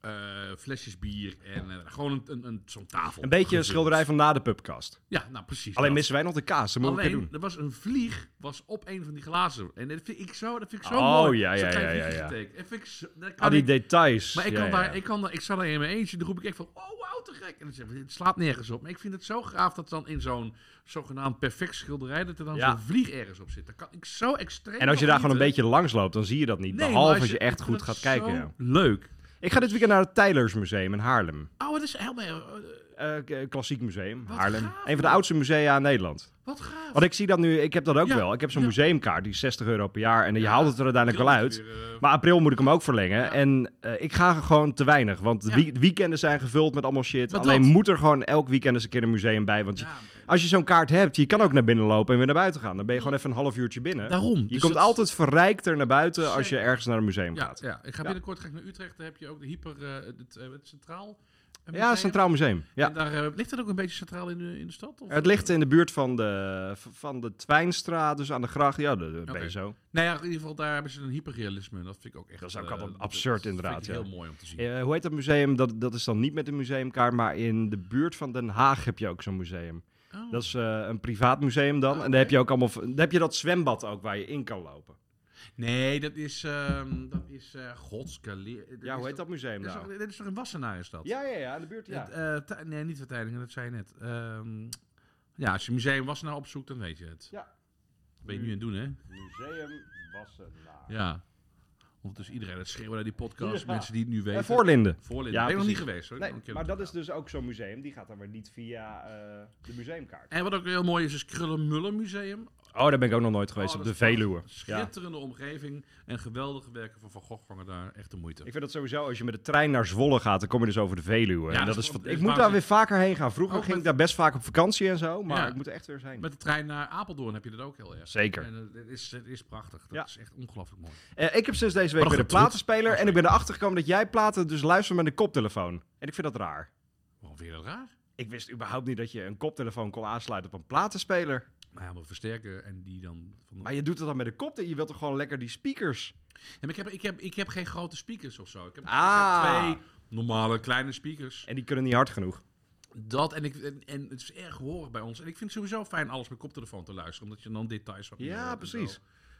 [SPEAKER 4] eh, flesjes bier en eh, gewoon een, een, een- zo'n tafel.
[SPEAKER 3] Een beetje een
[SPEAKER 4] gevuld.
[SPEAKER 3] schilderij van na de pubcast.
[SPEAKER 4] Ja, nou precies.
[SPEAKER 3] Alleen
[SPEAKER 4] dat.
[SPEAKER 3] missen wij nog de kaas. Dat moeten we een keer
[SPEAKER 4] Alleen,
[SPEAKER 3] doen.
[SPEAKER 4] er was een vlieg was op een van die glazen. En dat vind ik zo, dat vind ik zo
[SPEAKER 3] Oh,
[SPEAKER 4] mooi.
[SPEAKER 3] ja,
[SPEAKER 4] Zo'n
[SPEAKER 3] ja,
[SPEAKER 4] klein
[SPEAKER 3] ja, ja,
[SPEAKER 4] vliegje
[SPEAKER 3] ja.
[SPEAKER 4] teken. Dat vind ik zo- dat kan
[SPEAKER 3] Al die
[SPEAKER 4] ik-
[SPEAKER 3] details.
[SPEAKER 4] maar ik,
[SPEAKER 3] Ja,
[SPEAKER 4] kan
[SPEAKER 3] ja,
[SPEAKER 4] daar,
[SPEAKER 3] ja.
[SPEAKER 4] ik, kan, daar- ik zat daar in mijn eentje. Dan roep ik echt van, oh wauw, te gek. En dan zeg ik, het slaat nergens op. Maar ik vind het zo gaaf dat dan in zo'n zogenaamd perfect schilderij... dat er dan
[SPEAKER 3] Ja.
[SPEAKER 4] zo'n vlieg ergens op zit. Daar kan ik zo extreem
[SPEAKER 3] En als je
[SPEAKER 4] van
[SPEAKER 3] daar gewoon een
[SPEAKER 4] genieten.
[SPEAKER 3] beetje langs loopt, dan zie je dat niet.
[SPEAKER 4] eh, Nee, maar
[SPEAKER 3] behalve als je,
[SPEAKER 4] ik
[SPEAKER 3] echt
[SPEAKER 4] vind
[SPEAKER 3] goed
[SPEAKER 4] het
[SPEAKER 3] gaat kijken.
[SPEAKER 4] zo
[SPEAKER 3] ja.
[SPEAKER 4] Leuk.
[SPEAKER 3] Ik ga dit weekend naar het Tijlersmuseum in Haarlem.
[SPEAKER 4] Oh, het is helemaal... eh,
[SPEAKER 3] eh, klassiek museum,
[SPEAKER 4] Wat
[SPEAKER 3] Haarlem.
[SPEAKER 4] gaaf,
[SPEAKER 3] Een van de oudste musea in Nederland.
[SPEAKER 4] Wat gaaf.
[SPEAKER 3] Want ik zie dat nu, ik heb dat ook
[SPEAKER 4] Ja,
[SPEAKER 3] wel. Ik heb zo'n
[SPEAKER 4] ja.
[SPEAKER 3] museumkaart, die is 60 euro per jaar. En je
[SPEAKER 4] Ja,
[SPEAKER 3] haalt het er uiteindelijk wel uit. Maar april moet ik hem ook verlengen. En eh, ik ga gewoon te weinig. Want de
[SPEAKER 4] Ja.
[SPEAKER 3] wie- weekenden zijn gevuld met allemaal shit.
[SPEAKER 4] Maar
[SPEAKER 3] Alleen
[SPEAKER 4] dat-
[SPEAKER 3] moet er gewoon elk weekend eens een keer een museum bij. Want je- als je zo'n kaart hebt, je kan ook naar binnen lopen en weer naar buiten gaan. Dan ben je gewoon even een half uurtje binnen.
[SPEAKER 4] Daarom.
[SPEAKER 3] je
[SPEAKER 4] Dus
[SPEAKER 3] komt
[SPEAKER 4] dat-
[SPEAKER 3] altijd verrijkter naar buiten als je
[SPEAKER 4] Zeker.
[SPEAKER 3] ergens naar een museum
[SPEAKER 4] Ja,
[SPEAKER 3] gaat.
[SPEAKER 4] ja, ik ga binnenkort ga ik naar Utrecht. Daar heb je ook de hyper, eh, het, eh, het centraal. eh,
[SPEAKER 3] Ja,
[SPEAKER 4] museum.
[SPEAKER 3] Centraal Museum. Ja.
[SPEAKER 4] En daar, eh, ligt dat ook een beetje centraal in de, in de stad? Of? eh,
[SPEAKER 3] Het ligt in de buurt van de, van de Twijnstraat, dus aan de gracht. Ja, daar daar ben je
[SPEAKER 4] Oké.
[SPEAKER 3] zo.
[SPEAKER 4] Nou ja, in ieder geval daar hebben ze een hyperrealisme. en Dat vind ik ook echt...
[SPEAKER 3] Dat is ook
[SPEAKER 4] eh,
[SPEAKER 3] altijd absurd
[SPEAKER 4] dat
[SPEAKER 3] inderdaad,
[SPEAKER 4] vind ik
[SPEAKER 3] ja.
[SPEAKER 4] heel mooi om te zien.
[SPEAKER 3] Eh, hoe heet dat museum? Dat, dat is dan niet met een museumkaart, maar in de buurt van Den Haag heb je ook zo'n museum.
[SPEAKER 4] Oh.
[SPEAKER 3] Dat is eh, een privaat museum dan.
[SPEAKER 4] Ah,
[SPEAKER 3] En daar heb
[SPEAKER 4] oké.
[SPEAKER 3] je ook allemaal. v- Daar heb je dat zwembad ook waar je in kan lopen.
[SPEAKER 4] Nee, dat is... ehm dat is eh godskaleer...
[SPEAKER 3] Ja, hoe heet dat museum
[SPEAKER 4] Dat is,
[SPEAKER 3] nou?
[SPEAKER 4] toch, dit is toch in Wassenaar is dat?
[SPEAKER 3] Ja, ja, ja, in de buurt. Ja.
[SPEAKER 4] Het, eh, Tij- nee, niet Vertijdingen, dat zei je net. Ehm, ja, als je museum Wassenaar opzoekt, dan weet je het.
[SPEAKER 3] Ja.
[SPEAKER 4] Dat ben je nu
[SPEAKER 3] Mm.
[SPEAKER 4] aan het doen, hè?
[SPEAKER 3] Museum Wassenaar.
[SPEAKER 4] Ja. Ondertussen iedereen het schreeuwen naar die podcast.
[SPEAKER 3] Ja.
[SPEAKER 4] Mensen die het nu weten.
[SPEAKER 3] En Eh, Voorlinden.
[SPEAKER 4] Voorlinden.
[SPEAKER 3] Ja,
[SPEAKER 4] ben ik nog niet
[SPEAKER 3] precies.
[SPEAKER 4] geweest hoor. Ik
[SPEAKER 3] Nee,
[SPEAKER 4] ben een keer
[SPEAKER 3] maar dat
[SPEAKER 4] naartoe
[SPEAKER 3] is dus ook zo'n museum. Die gaat dan weer niet via eh, de museumkaart.
[SPEAKER 4] gegaan. En wat ook heel mooi is, is Krullenmullen Museum.
[SPEAKER 3] Oh, daar ben ik ook nog nooit geweest
[SPEAKER 4] Oh,
[SPEAKER 3] op de
[SPEAKER 4] dat is
[SPEAKER 3] Veluwe. Ja.
[SPEAKER 4] Schitterende omgeving en geweldige werken van Van Gogh hangen daar. Echt de moeite.
[SPEAKER 3] Ik vind dat sowieso, als je met de trein naar Zwolle gaat, dan kom je dus over de Veluwe.
[SPEAKER 4] Ja,
[SPEAKER 3] En dat
[SPEAKER 4] dat
[SPEAKER 3] Dus
[SPEAKER 4] is
[SPEAKER 3] is,
[SPEAKER 4] gewoon-
[SPEAKER 3] ik
[SPEAKER 4] is
[SPEAKER 3] moet daar weer
[SPEAKER 4] waanzinnig.
[SPEAKER 3] vaker heen gaan. Vroeger
[SPEAKER 4] Ook
[SPEAKER 3] ging ik
[SPEAKER 4] met-
[SPEAKER 3] daar best vaak op vakantie en zo, maar
[SPEAKER 4] Ja.
[SPEAKER 3] ik moet er echt weer zijn.
[SPEAKER 4] Met de trein naar Apeldoorn heb je dat ook heel erg.
[SPEAKER 3] Zeker.
[SPEAKER 4] En eh, het, is, het is prachtig. Dat
[SPEAKER 3] Ja.
[SPEAKER 4] is echt ongelooflijk mooi.
[SPEAKER 3] Eh, ik heb sinds deze week
[SPEAKER 4] Maar
[SPEAKER 3] weer een
[SPEAKER 4] goed, goed.
[SPEAKER 3] platenspeler en ik ben erachter gekomen dat jij platen dus luistert met een koptelefoon. En ik vind dat raar.
[SPEAKER 4] Waarom vind je dat raar?
[SPEAKER 3] Ik wist überhaupt niet dat je een koptelefoon kon aansluiten op een platenspeler.
[SPEAKER 4] Maar ja, maar versterken en die dan... Van
[SPEAKER 3] Maar je doet het dan met een koptelefoon. Je wilt toch gewoon lekker die speakers?
[SPEAKER 4] Ja, maar ik, heb, ik, heb, ik heb geen grote speakers of zo. Ik heb, ik heb
[SPEAKER 3] Ah.
[SPEAKER 4] twee normale kleine speakers.
[SPEAKER 3] En die kunnen niet hard genoeg.
[SPEAKER 4] Dat en, ik, en, en het is erg horig bij ons. En ik vind het sowieso fijn alles met koptelefoon te luisteren. Omdat je dan details wat meer
[SPEAKER 3] Ja,
[SPEAKER 4] hoort en
[SPEAKER 3] precies.
[SPEAKER 4] zo.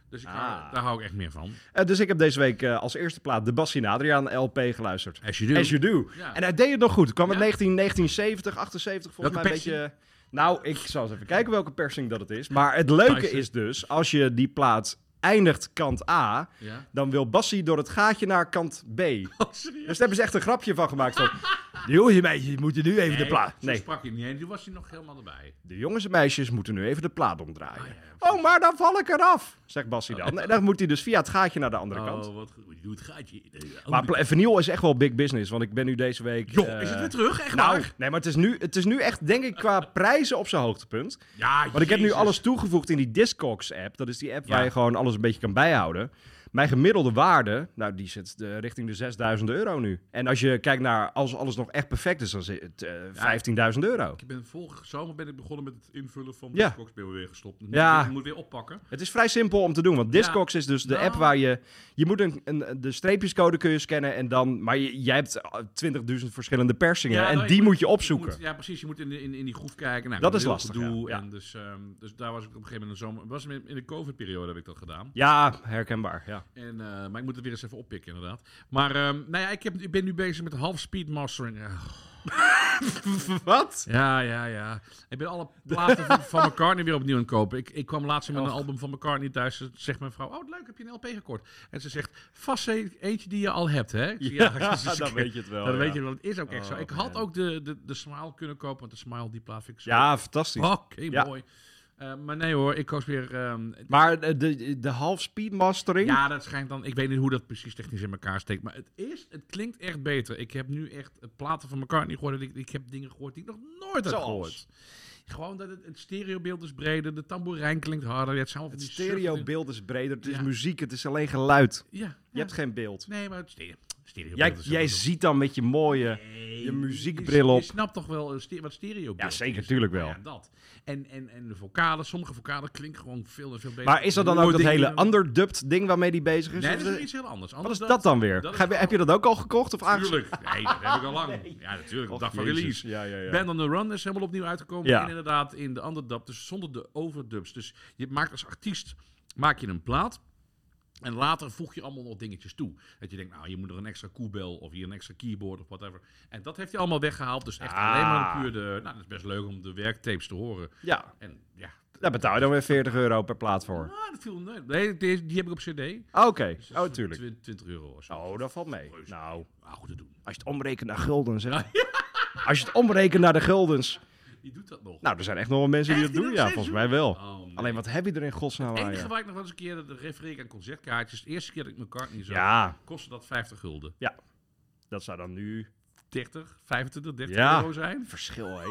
[SPEAKER 4] Dus ik hou-
[SPEAKER 3] Ah.
[SPEAKER 4] daar hou ik echt meer van.
[SPEAKER 3] Eh, dus ik heb deze week eh, als eerste plaat de Bassin Adriaan LP geluisterd.
[SPEAKER 4] As you do.
[SPEAKER 3] As you do.
[SPEAKER 4] Ja.
[SPEAKER 3] En hij deed het nog goed. Kwam uit
[SPEAKER 4] Ja.
[SPEAKER 3] 19, 1970, 78 volgens
[SPEAKER 4] Welke
[SPEAKER 3] mij een beetje. Nou, ik zal eens even kijken welke persing dat het is. Maar het leuke
[SPEAKER 4] Nice.
[SPEAKER 3] is dus, als je die plaat eindigt kant A,
[SPEAKER 4] Ja.
[SPEAKER 3] dan wil Bassie door het gaatje naar kant B.
[SPEAKER 4] Oh, serieus?
[SPEAKER 3] [LAUGHS] Dus daar hebben ze echt een grapje van gemaakt.
[SPEAKER 4] [LAUGHS]
[SPEAKER 3] Van, de jongens en meisjes moeten nu even de plaat.
[SPEAKER 4] zo
[SPEAKER 3] Nee,
[SPEAKER 4] sprak hij niet heen. Toen was hij nog helemaal erbij.
[SPEAKER 3] de jongens en meisjes moeten nu even de plaat omdraaien.
[SPEAKER 4] Ah, ja,
[SPEAKER 3] Oh, maar dan val ik eraf, zegt Bassie dan. En dan moet hij dus via het gaatje naar de andere kant.
[SPEAKER 4] Oh, wat goed. Je doet gaatje. Eh,
[SPEAKER 3] Maar
[SPEAKER 4] oh,
[SPEAKER 3] pla- vinyl is echt wel big business, want ik ben nu deze week...
[SPEAKER 4] Joh,
[SPEAKER 3] eh,
[SPEAKER 4] is het weer terug? Echt
[SPEAKER 3] Nou,
[SPEAKER 4] waar?
[SPEAKER 3] nee, maar het is, nu, het is nu echt, denk ik,
[SPEAKER 4] [LAUGHS]
[SPEAKER 3] qua prijzen op zijn hoogtepunt.
[SPEAKER 4] Ja,
[SPEAKER 3] Want ik heb nu
[SPEAKER 4] Jezus.
[SPEAKER 3] alles toegevoegd in die Discogs-app. Dat is die app
[SPEAKER 4] Ja.
[SPEAKER 3] waar je gewoon alles een beetje kan bijhouden. Mijn gemiddelde waarde, nou, die zit eh, richting de 6000 euro nu. En als je kijkt naar, als alles nog echt perfect is, dan zit het eh, 15.000 euro.
[SPEAKER 4] Ik ben vorige zomer ben ik begonnen met het invullen van
[SPEAKER 3] Ja.
[SPEAKER 4] de Discogs. Ben weer gestopt. Ik
[SPEAKER 3] Ja.
[SPEAKER 4] moet- Ik moet weer oppakken.
[SPEAKER 3] Het is vrij simpel om te doen, want Discogs is dus de
[SPEAKER 4] Nou.
[SPEAKER 3] app waar je... Je moet een, een, de streepjescode kun je scannen en dan... Maar je- jij hebt eh, 20.000 verschillende persingen
[SPEAKER 4] Ja,
[SPEAKER 3] en
[SPEAKER 4] nou,
[SPEAKER 3] die
[SPEAKER 4] ik
[SPEAKER 3] moet, je
[SPEAKER 4] ik
[SPEAKER 3] opzoeken.
[SPEAKER 4] moet- ja, precies. Je moet in, de- in, in die groef kijken. Nou,
[SPEAKER 3] Dat
[SPEAKER 4] dat
[SPEAKER 3] is
[SPEAKER 4] is
[SPEAKER 3] lastig,
[SPEAKER 4] lastig.
[SPEAKER 3] ja. Ja.
[SPEAKER 4] En dus, ehm, dus daar was ik op een gegeven moment in de zomer. Was in in de COVID-periode heb ik dat gedaan.
[SPEAKER 3] ja, herkenbaar,
[SPEAKER 4] [LAUGHS]
[SPEAKER 3] ja.
[SPEAKER 4] En, eh, maar ik moet het weer eens even oppikken, inderdaad. Maar ehm, nou ja, ik, heb, ik ben nu bezig met half speed mastering. Ah,
[SPEAKER 3] Wat?
[SPEAKER 4] Ja, ja, ja. Ik ben alle platen van, van McCartney weer opnieuw aan het kopen. Ik, ik kwam laatst met een album van McCartney thuis. Ze- Zegt mijn vrouw, oh leuk, heb je een LP gekort? En ze zegt, vast e- eentje die je al hebt, hè? Ik zeg,
[SPEAKER 3] [LAUGHS] Ja,
[SPEAKER 4] [LAUGHS] dus
[SPEAKER 3] dan
[SPEAKER 4] ik-
[SPEAKER 3] weet je het wel,
[SPEAKER 4] Dan
[SPEAKER 3] ja.
[SPEAKER 4] weet je wel, het is ook echt
[SPEAKER 3] Oh,
[SPEAKER 4] zo. Ik had
[SPEAKER 3] man.
[SPEAKER 4] ook de, de, de Smile kunnen kopen, want de Smile, die plaat vind ik zo
[SPEAKER 3] Ja, fantastisch.
[SPEAKER 4] Oké,
[SPEAKER 3] Ja.
[SPEAKER 4] mooi. Eh, maar nee hoor, ik koos weer... ehm,
[SPEAKER 3] Maar eh, de, de half speed mastering.
[SPEAKER 4] ja, dat schijnt dan... Ik weet niet hoe dat precies technisch in elkaar steekt. Maar het, is, het klinkt echt beter. Ik heb nu echt eh, platen van elkaar niet gehoord. en Ik, ik heb dingen gehoord die ik nog nooit had
[SPEAKER 3] Zoals?
[SPEAKER 4] gehoord. Gewoon dat het, het stereobeeld is breder. De tamboerijn klinkt harder. Het, zijn allemaal
[SPEAKER 3] het
[SPEAKER 4] van die subtiele-
[SPEAKER 3] stereobeeld is breder. Het is
[SPEAKER 4] Ja.
[SPEAKER 3] muziek, het is alleen geluid. Je
[SPEAKER 4] Ja. ja.
[SPEAKER 3] hebt geen beeld.
[SPEAKER 4] Nee, maar het stereo, stereobeeld
[SPEAKER 3] Jij,
[SPEAKER 4] is
[SPEAKER 3] jij
[SPEAKER 4] ook-
[SPEAKER 3] ziet dan met je mooie.
[SPEAKER 4] Nee,
[SPEAKER 3] je muziekbril op.
[SPEAKER 4] Je snapt toch wel eh, ste- wat stereobeeld
[SPEAKER 3] Ja, zeker,
[SPEAKER 4] is? Nou
[SPEAKER 3] tuurlijk wel.
[SPEAKER 4] Ja, dat. En, en, en de vocalen, sommige vocalen klinken gewoon veel en veel beter.
[SPEAKER 3] Maar is dat dan ook dat
[SPEAKER 4] Dingen-
[SPEAKER 3] hele underdubbed ding waarmee die bezig is?
[SPEAKER 4] Nee,
[SPEAKER 3] Of
[SPEAKER 4] dat is
[SPEAKER 3] de-
[SPEAKER 4] iets heel anders.
[SPEAKER 3] Wat
[SPEAKER 4] Anders
[SPEAKER 3] is dat dan weer?
[SPEAKER 4] dat is
[SPEAKER 3] Ga- heb je dat ook al gekocht of aangeschaft?
[SPEAKER 4] Tuurlijk. Nee, dat heb ik al
[SPEAKER 3] [LAUGHS]
[SPEAKER 4] lang. Ja, natuurlijk. Op
[SPEAKER 3] Och,
[SPEAKER 4] dag van
[SPEAKER 3] Jezus.
[SPEAKER 4] release.
[SPEAKER 3] Ja, ja, ja.
[SPEAKER 4] Band on the Run is helemaal opnieuw uitgekomen.
[SPEAKER 3] Ja.
[SPEAKER 4] En inderdaad in de underdub, dus zonder de overdubs. Dus je maakt als artiest maak je een plaat. En later voeg je allemaal nog dingetjes toe. Dat je denkt, nou, hier moet er een extra koebel of hier een extra keyboard of whatever. En dat heeft hij allemaal weggehaald. Dus echt
[SPEAKER 3] Ah.
[SPEAKER 4] alleen maar een puur de... Nou, dat is best leuk om de werktapes te horen.
[SPEAKER 3] Ja,
[SPEAKER 4] En ja,
[SPEAKER 3] daar betaal je dan weer 40 euro per plaat voor.
[SPEAKER 4] ah, dat viel mee. Nee, die, die heb ik op cd.
[SPEAKER 3] Oké,
[SPEAKER 4] Dus
[SPEAKER 3] oh tuurlijk.
[SPEAKER 4] 20 euro of zo.
[SPEAKER 3] Oh, dat valt mee. Nou,
[SPEAKER 4] Nou, goed te doen. [LAUGHS]
[SPEAKER 3] als je het omrekent naar gulden, zeg. Als je het omrekent naar de guldens.
[SPEAKER 4] Die doet dat nog.
[SPEAKER 3] Nou, er zijn echt nog wel mensen die
[SPEAKER 4] Echt,
[SPEAKER 3] dat
[SPEAKER 4] die
[SPEAKER 3] doen.
[SPEAKER 4] dat
[SPEAKER 3] Ja,
[SPEAKER 4] steeds
[SPEAKER 3] volgens mij wel.
[SPEAKER 4] Oh, nee.
[SPEAKER 3] Alleen wat heb je er in godsnaam
[SPEAKER 4] Het
[SPEAKER 3] aan?
[SPEAKER 4] enige
[SPEAKER 3] ja?
[SPEAKER 4] waar ik nog wel eens een keer dat refereer ik aan concertkaartjes. De eerste keer dat ik mijn kaart niet zag,
[SPEAKER 3] Ja,
[SPEAKER 4] kostte dat 50 gulden.
[SPEAKER 3] dat zou dan nu
[SPEAKER 4] 30, 25, 30
[SPEAKER 3] Ja.
[SPEAKER 4] euro zijn.
[SPEAKER 3] verschil, hè?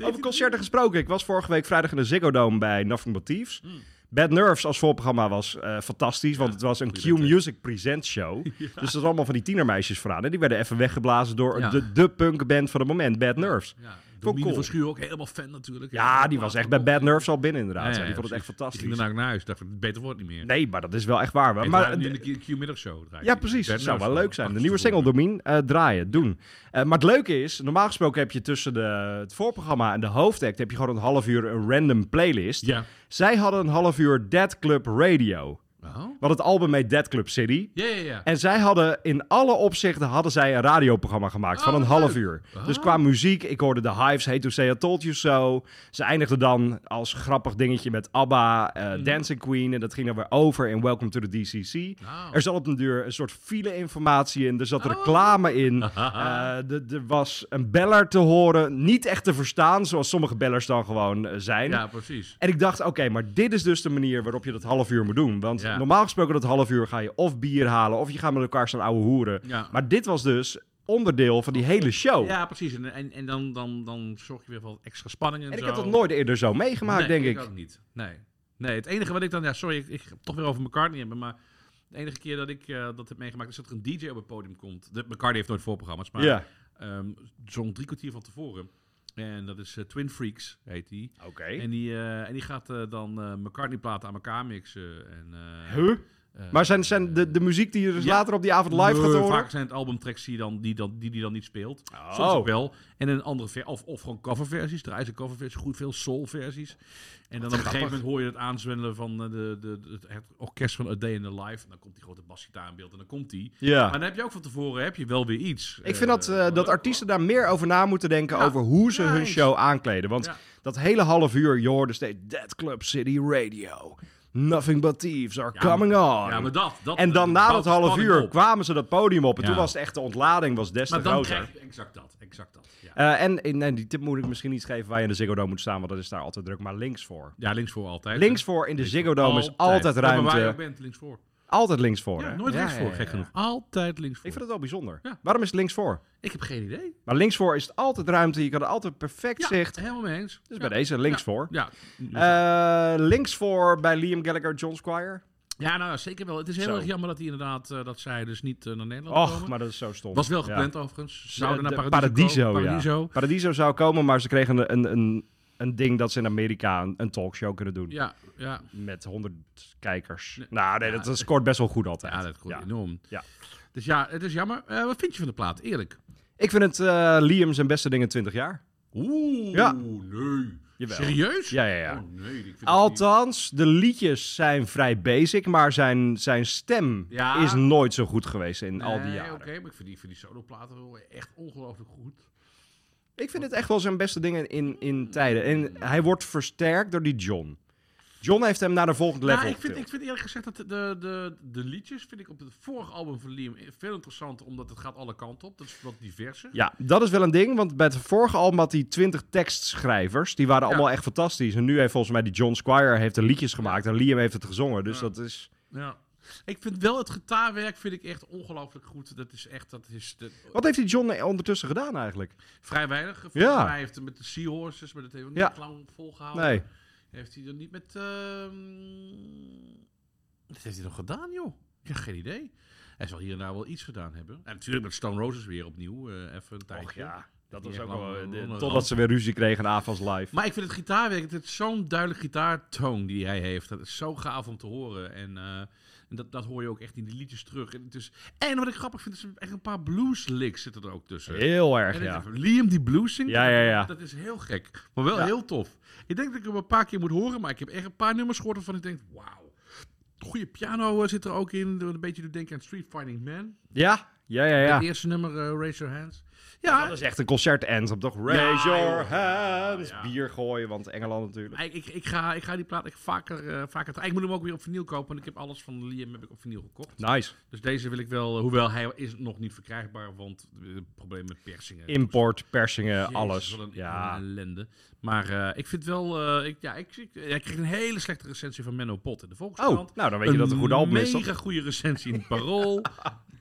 [SPEAKER 3] Over concerten gesproken. Ik was vorige week vrijdag in de Ziggo Dome bij Nothing But Thieves.
[SPEAKER 4] Hmm.
[SPEAKER 3] Bad Nerves als voorprogramma was eh, fantastisch, want het was een Q
[SPEAKER 4] goeie idee.
[SPEAKER 3] Music Presents
[SPEAKER 4] [LAUGHS]
[SPEAKER 3] show. Dus dat allemaal van die tienermeisjes vooraan. En die werden even weggeblazen door
[SPEAKER 4] Ja.
[SPEAKER 3] de, de punkband van het moment, Bad Nerves.
[SPEAKER 4] Ja,
[SPEAKER 3] Vond ik
[SPEAKER 4] Domine
[SPEAKER 3] cool.
[SPEAKER 4] van Schuur ook helemaal fan natuurlijk.
[SPEAKER 3] Ja, die was echt bij Bad Nerves al binnen inderdaad.
[SPEAKER 4] Ja,
[SPEAKER 3] Ja,
[SPEAKER 4] ja,
[SPEAKER 3] die vond het echt
[SPEAKER 4] precies. Die
[SPEAKER 3] fantastisch.
[SPEAKER 4] ging daarna ook naar huis. Dacht, van, beter wordt het niet meer.
[SPEAKER 3] Nee, maar dat is wel echt waar. hoor.
[SPEAKER 4] maar
[SPEAKER 3] Maar,
[SPEAKER 4] nu in de Q-middagshow draait
[SPEAKER 3] ja,
[SPEAKER 4] hij.
[SPEAKER 3] precies.
[SPEAKER 4] Bad
[SPEAKER 3] Dat zou wel leuk
[SPEAKER 4] Nerves nou van
[SPEAKER 3] zijn. De
[SPEAKER 4] achter
[SPEAKER 3] nieuwe single, Domien,
[SPEAKER 4] tevoren.
[SPEAKER 3] eh, draaien, doen. Eh, maar het leuke is, normaal gesproken heb je tussen de, het voorprogramma en de hoofdact... heb je gewoon een half uur een random playlist.
[SPEAKER 4] Ja.
[SPEAKER 3] Zij hadden een half uur Dead Club Radio.
[SPEAKER 4] Oh.
[SPEAKER 3] Wat het album heet Dead Club City.
[SPEAKER 4] Ja, ja, ja.
[SPEAKER 3] En zij hadden in alle opzichten hadden zij een radioprogramma gemaakt van
[SPEAKER 4] Oh,
[SPEAKER 3] een
[SPEAKER 4] wat
[SPEAKER 3] half
[SPEAKER 4] leuk.
[SPEAKER 3] uur. Dus qua muziek, ik hoorde The Hives, Hey To Say I Told You So. Ze eindigden dan als grappig dingetje met ABBA, eh,
[SPEAKER 4] Mhm.
[SPEAKER 3] Dancing Queen. En dat ging dan weer over in Welcome to the DCC.
[SPEAKER 4] Nou. Oh.
[SPEAKER 3] Er zat op een duur een soort file-informatie in. Er zat reclame
[SPEAKER 4] [LAUGHS]
[SPEAKER 3] in. Eh, d- er was een beller te horen. Niet echt te verstaan, zoals sommige bellers dan gewoon eh, zijn.
[SPEAKER 4] Ja, precies.
[SPEAKER 3] En ik dacht, oké, maar dit is dus de manier waarop je dat half uur moet doen. Want
[SPEAKER 4] Ja.
[SPEAKER 3] normaal gesproken dat half uur ga je of bier halen... of je gaat met elkaar staan ouwe hoeren.
[SPEAKER 4] Ja.
[SPEAKER 3] Maar dit was dus onderdeel van die hele show.
[SPEAKER 4] Ja, precies. En, en, en dan, dan, dan zorg je weer voor wat extra spanning en,
[SPEAKER 3] En ik
[SPEAKER 4] zo.
[SPEAKER 3] heb dat nooit eerder zo meegemaakt,
[SPEAKER 4] Nee,
[SPEAKER 3] denk ik.
[SPEAKER 4] ook niet. Nee. nee, het enige wat ik dan... Ja, sorry, ik, ik ga het toch weer over McCartney hebben, maar... De enige keer dat ik eh, dat heb meegemaakt is dat er een DJ op het podium komt. De, McCartney heeft nooit voorprogramma's, maar
[SPEAKER 3] Ja,
[SPEAKER 4] ehm, zo'n drie kwartier van tevoren. En dat is eh, Twin Freaks, heet die.
[SPEAKER 3] oké.
[SPEAKER 4] En die, eh, en die gaat eh, dan eh McCartney-platen aan elkaar mixen. En, eh,
[SPEAKER 3] Huh?
[SPEAKER 4] eh,
[SPEAKER 3] Maar zijn, zijn de, de muziek die je dus
[SPEAKER 4] Ja.
[SPEAKER 3] later op die avond live gaat
[SPEAKER 4] Nee,
[SPEAKER 3] horen?
[SPEAKER 4] Vaak zijn het albumtracks die dan, die dan, die, die dan niet speelt.
[SPEAKER 3] Oh.
[SPEAKER 4] Soms ook wel. En een andere ver of, of gewoon coverversies. Er zijn coverversies, goed veel soulversies. En dan op een gegeven moment hoor je het aanzwengelen van eh, de, de, het, het orkest van A Day in the Life. En dan komt die grote basgitaar in beeld en dan komt die.
[SPEAKER 3] Ja.
[SPEAKER 4] Maar dan heb je ook van tevoren heb je wel weer iets.
[SPEAKER 3] Ik vind dat,
[SPEAKER 4] Eh,
[SPEAKER 3] eh, dat artiesten daar meer over na moeten denken
[SPEAKER 4] Ja,
[SPEAKER 3] over hoe ze hun
[SPEAKER 4] nice.
[SPEAKER 3] show aankleden. Want
[SPEAKER 4] Ja.
[SPEAKER 3] dat hele half uur, je hoorde steeds Dead Club City Radio. Nothing but thieves are
[SPEAKER 4] Ja,
[SPEAKER 3] coming on.
[SPEAKER 4] Ja, maar dat. dat
[SPEAKER 3] en dan na
[SPEAKER 4] bouwt
[SPEAKER 3] dat
[SPEAKER 4] de
[SPEAKER 3] half
[SPEAKER 4] spanning
[SPEAKER 3] uur
[SPEAKER 4] op.
[SPEAKER 3] kwamen ze dat podium op. En
[SPEAKER 4] Ja.
[SPEAKER 3] toen was het echt de ontlading was des te
[SPEAKER 4] Maar dan
[SPEAKER 3] groter.
[SPEAKER 4] krijg je exact dat. Exact dat. Ja,
[SPEAKER 3] Eh, en eh, nee, die tip moet ik misschien niet geven waar je in de Ziggo Dome moet staan, want dat is daar altijd druk. Maar links voor.
[SPEAKER 4] ja links voor altijd.
[SPEAKER 3] Links voor in de Ziggo Dome is altijd
[SPEAKER 4] Ja, maar waar je ook
[SPEAKER 3] ruimte.
[SPEAKER 4] bent, links voor.
[SPEAKER 3] Altijd links voor.
[SPEAKER 4] Ja,
[SPEAKER 3] hè?
[SPEAKER 4] nooit
[SPEAKER 3] Ja,
[SPEAKER 4] links
[SPEAKER 3] ja,
[SPEAKER 4] voor,
[SPEAKER 3] ja,
[SPEAKER 4] gek
[SPEAKER 3] ja.
[SPEAKER 4] genoeg. Altijd links voor.
[SPEAKER 3] Ik vind
[SPEAKER 4] Ik,
[SPEAKER 3] het wel bijzonder.
[SPEAKER 4] Ja.
[SPEAKER 3] Waarom is het links voor?
[SPEAKER 4] heb geen idee.
[SPEAKER 3] Maar links voor is het altijd ruimte. Je kan er altijd perfect
[SPEAKER 4] Ja,
[SPEAKER 3] zicht.
[SPEAKER 4] helemaal mee eens.
[SPEAKER 3] Dus
[SPEAKER 4] ja.
[SPEAKER 3] bij deze links voor.
[SPEAKER 4] Ja.
[SPEAKER 3] Eh, links voor bij Liam Gallagher, John Squire.
[SPEAKER 4] ja, nou ja, zeker wel. Het is heel
[SPEAKER 3] Zo.
[SPEAKER 4] erg jammer dat, hij inderdaad, eh, dat zij dus niet eh, naar Nederland
[SPEAKER 3] Och,
[SPEAKER 4] komen.
[SPEAKER 3] maar dat is zo stom.
[SPEAKER 4] Was
[SPEAKER 3] Ja.
[SPEAKER 4] wel gepland overigens. Ze zouden
[SPEAKER 3] De-
[SPEAKER 4] naar
[SPEAKER 3] de
[SPEAKER 4] Paradiso,
[SPEAKER 3] Paradiso,
[SPEAKER 4] komen.
[SPEAKER 3] ja.
[SPEAKER 4] Paradiso. Ja.
[SPEAKER 3] Paradiso zou komen, maar ze kregen een, een, een, een ding dat ze in Amerika een, een talkshow kunnen doen.
[SPEAKER 4] Ja, ja.
[SPEAKER 3] Met 100 kijkers.
[SPEAKER 4] Nee.
[SPEAKER 3] Nou, nee,
[SPEAKER 4] Ja,
[SPEAKER 3] dat, dat scoort best wel goed altijd.
[SPEAKER 4] dat goed.
[SPEAKER 3] Ja.
[SPEAKER 4] Enorm.
[SPEAKER 3] Ja.
[SPEAKER 4] Dus ja, het is jammer. Eh, wat vind je van de plaat? Eerlijk.
[SPEAKER 3] Ik vind het eh, Liam zijn beste ding in 20 jaar.
[SPEAKER 4] Oeh,
[SPEAKER 3] Ja.
[SPEAKER 4] nee.
[SPEAKER 3] Jawel.
[SPEAKER 4] Serieus?
[SPEAKER 3] Ja, ja, ja.
[SPEAKER 4] Oh, nee, ik vind het niet-
[SPEAKER 3] Althans, de liedjes zijn vrij basic, maar zijn, zijn stem
[SPEAKER 4] Ja.
[SPEAKER 3] is nooit zo goed geweest in al die
[SPEAKER 4] Nee,
[SPEAKER 3] jaren.
[SPEAKER 4] Oké, maar ik vind die, vind die soloplaten wel echt ongelooflijk goed.
[SPEAKER 3] Ik vind het echt wel zijn beste dingen in, in tijden. En hij wordt versterkt door die John. John heeft hem naar de volgende level
[SPEAKER 4] Nou, ik vind,
[SPEAKER 3] getild.
[SPEAKER 4] ik vind eerlijk gezegd dat de, de, de, de liedjes vind ik op het vorige album van Liam veel interessanter, omdat het gaat alle kanten op. Dat is wat diverser.
[SPEAKER 3] Ja, dat is wel een ding, want bij het vorige album had hij 20 tekstschrijvers. Die waren
[SPEAKER 4] Ja.
[SPEAKER 3] allemaal echt fantastisch. En nu heeft volgens mij die John Squire heeft de liedjes gemaakt en Liam heeft het gezongen. Dus dat is...
[SPEAKER 4] Ja. Ik vind wel het gitaarwerk vind ik echt ongelooflijk goed. Dat is echt, dat is de-
[SPEAKER 3] Wat heeft die John ondertussen gedaan eigenlijk?
[SPEAKER 4] vrij weinig. Volgens
[SPEAKER 3] Ja.
[SPEAKER 4] mij heeft hij met de Seahorses, maar dat heeft ook
[SPEAKER 3] Ja.
[SPEAKER 4] niet lang volgehouden.
[SPEAKER 3] Nee.
[SPEAKER 4] Heeft hij dan niet met... ehm, Wat heeft hij nog gedaan, joh? Ik heb geen idee. Hij zal hier en daar wel iets gedaan hebben. En natuurlijk met Stone Roses weer opnieuw. eh, even een tijdje.
[SPEAKER 3] Och ja, dat
[SPEAKER 4] Die
[SPEAKER 3] was
[SPEAKER 4] echt
[SPEAKER 3] ook
[SPEAKER 4] lang-
[SPEAKER 3] wel... eh,
[SPEAKER 4] lang- lang-
[SPEAKER 3] Totdat ze weer ruzie kregen in Avans Live.
[SPEAKER 4] Maar ik vind het gitaarwerk, het is zo'n duidelijk gitaartoon die hij heeft. Dat is zo gaaf om te horen. En, eh, en dat, dat hoor je ook echt in die liedjes terug. En, het is, en wat ik grappig vind, is echt een paar blues licks zitten er ook tussen.
[SPEAKER 3] Heel erg,
[SPEAKER 4] En
[SPEAKER 3] ja.
[SPEAKER 4] het- Liam die blues zingt,
[SPEAKER 3] Ja, ja, ja.
[SPEAKER 4] dat is heel gek. Maar wel
[SPEAKER 3] Ja.
[SPEAKER 4] heel tof. Ik denk dat ik hem een paar keer moet horen, maar ik heb echt een paar nummers gehoord waarvan ik denk, wauw. Goede piano eh, zit er ook in. Een beetje doet denken aan Street Fighting Man.
[SPEAKER 3] Ja, Ja, ja,
[SPEAKER 4] Het
[SPEAKER 3] ja.
[SPEAKER 4] eerste nummer, eh, Raise Your Hands. Ja,
[SPEAKER 3] Dat is echt een concert-anthem, toch? Raise your hands. Bier gooien, want Engeland natuurlijk.
[SPEAKER 4] ik, ik, ik, ga, ik ga die plaat echt vaker, eh vaker... tra- Ik moet hem ook weer op vinyl kopen, want ik heb alles van Liam heb ik op vinyl gekocht.
[SPEAKER 3] Nice.
[SPEAKER 4] Dus deze wil ik wel, hoewel hij is nog niet verkrijgbaar, want eh, probleem met persingen.
[SPEAKER 3] Import, persingen,
[SPEAKER 4] Jezus,
[SPEAKER 3] alles.
[SPEAKER 4] wat een- wat
[SPEAKER 3] Ja.
[SPEAKER 4] een ellende. Maar eh, ik vind wel... eh, ik, ja, ik, ik, ja, ik kreeg een hele slechte recensie van Menno Pot in de Volkskrant.
[SPEAKER 3] Oh, nou, dan weet je dat het een goede album is,
[SPEAKER 4] Een
[SPEAKER 3] toch?
[SPEAKER 4] mega goede recensie in
[SPEAKER 3] [LAUGHS]
[SPEAKER 4] het Parool.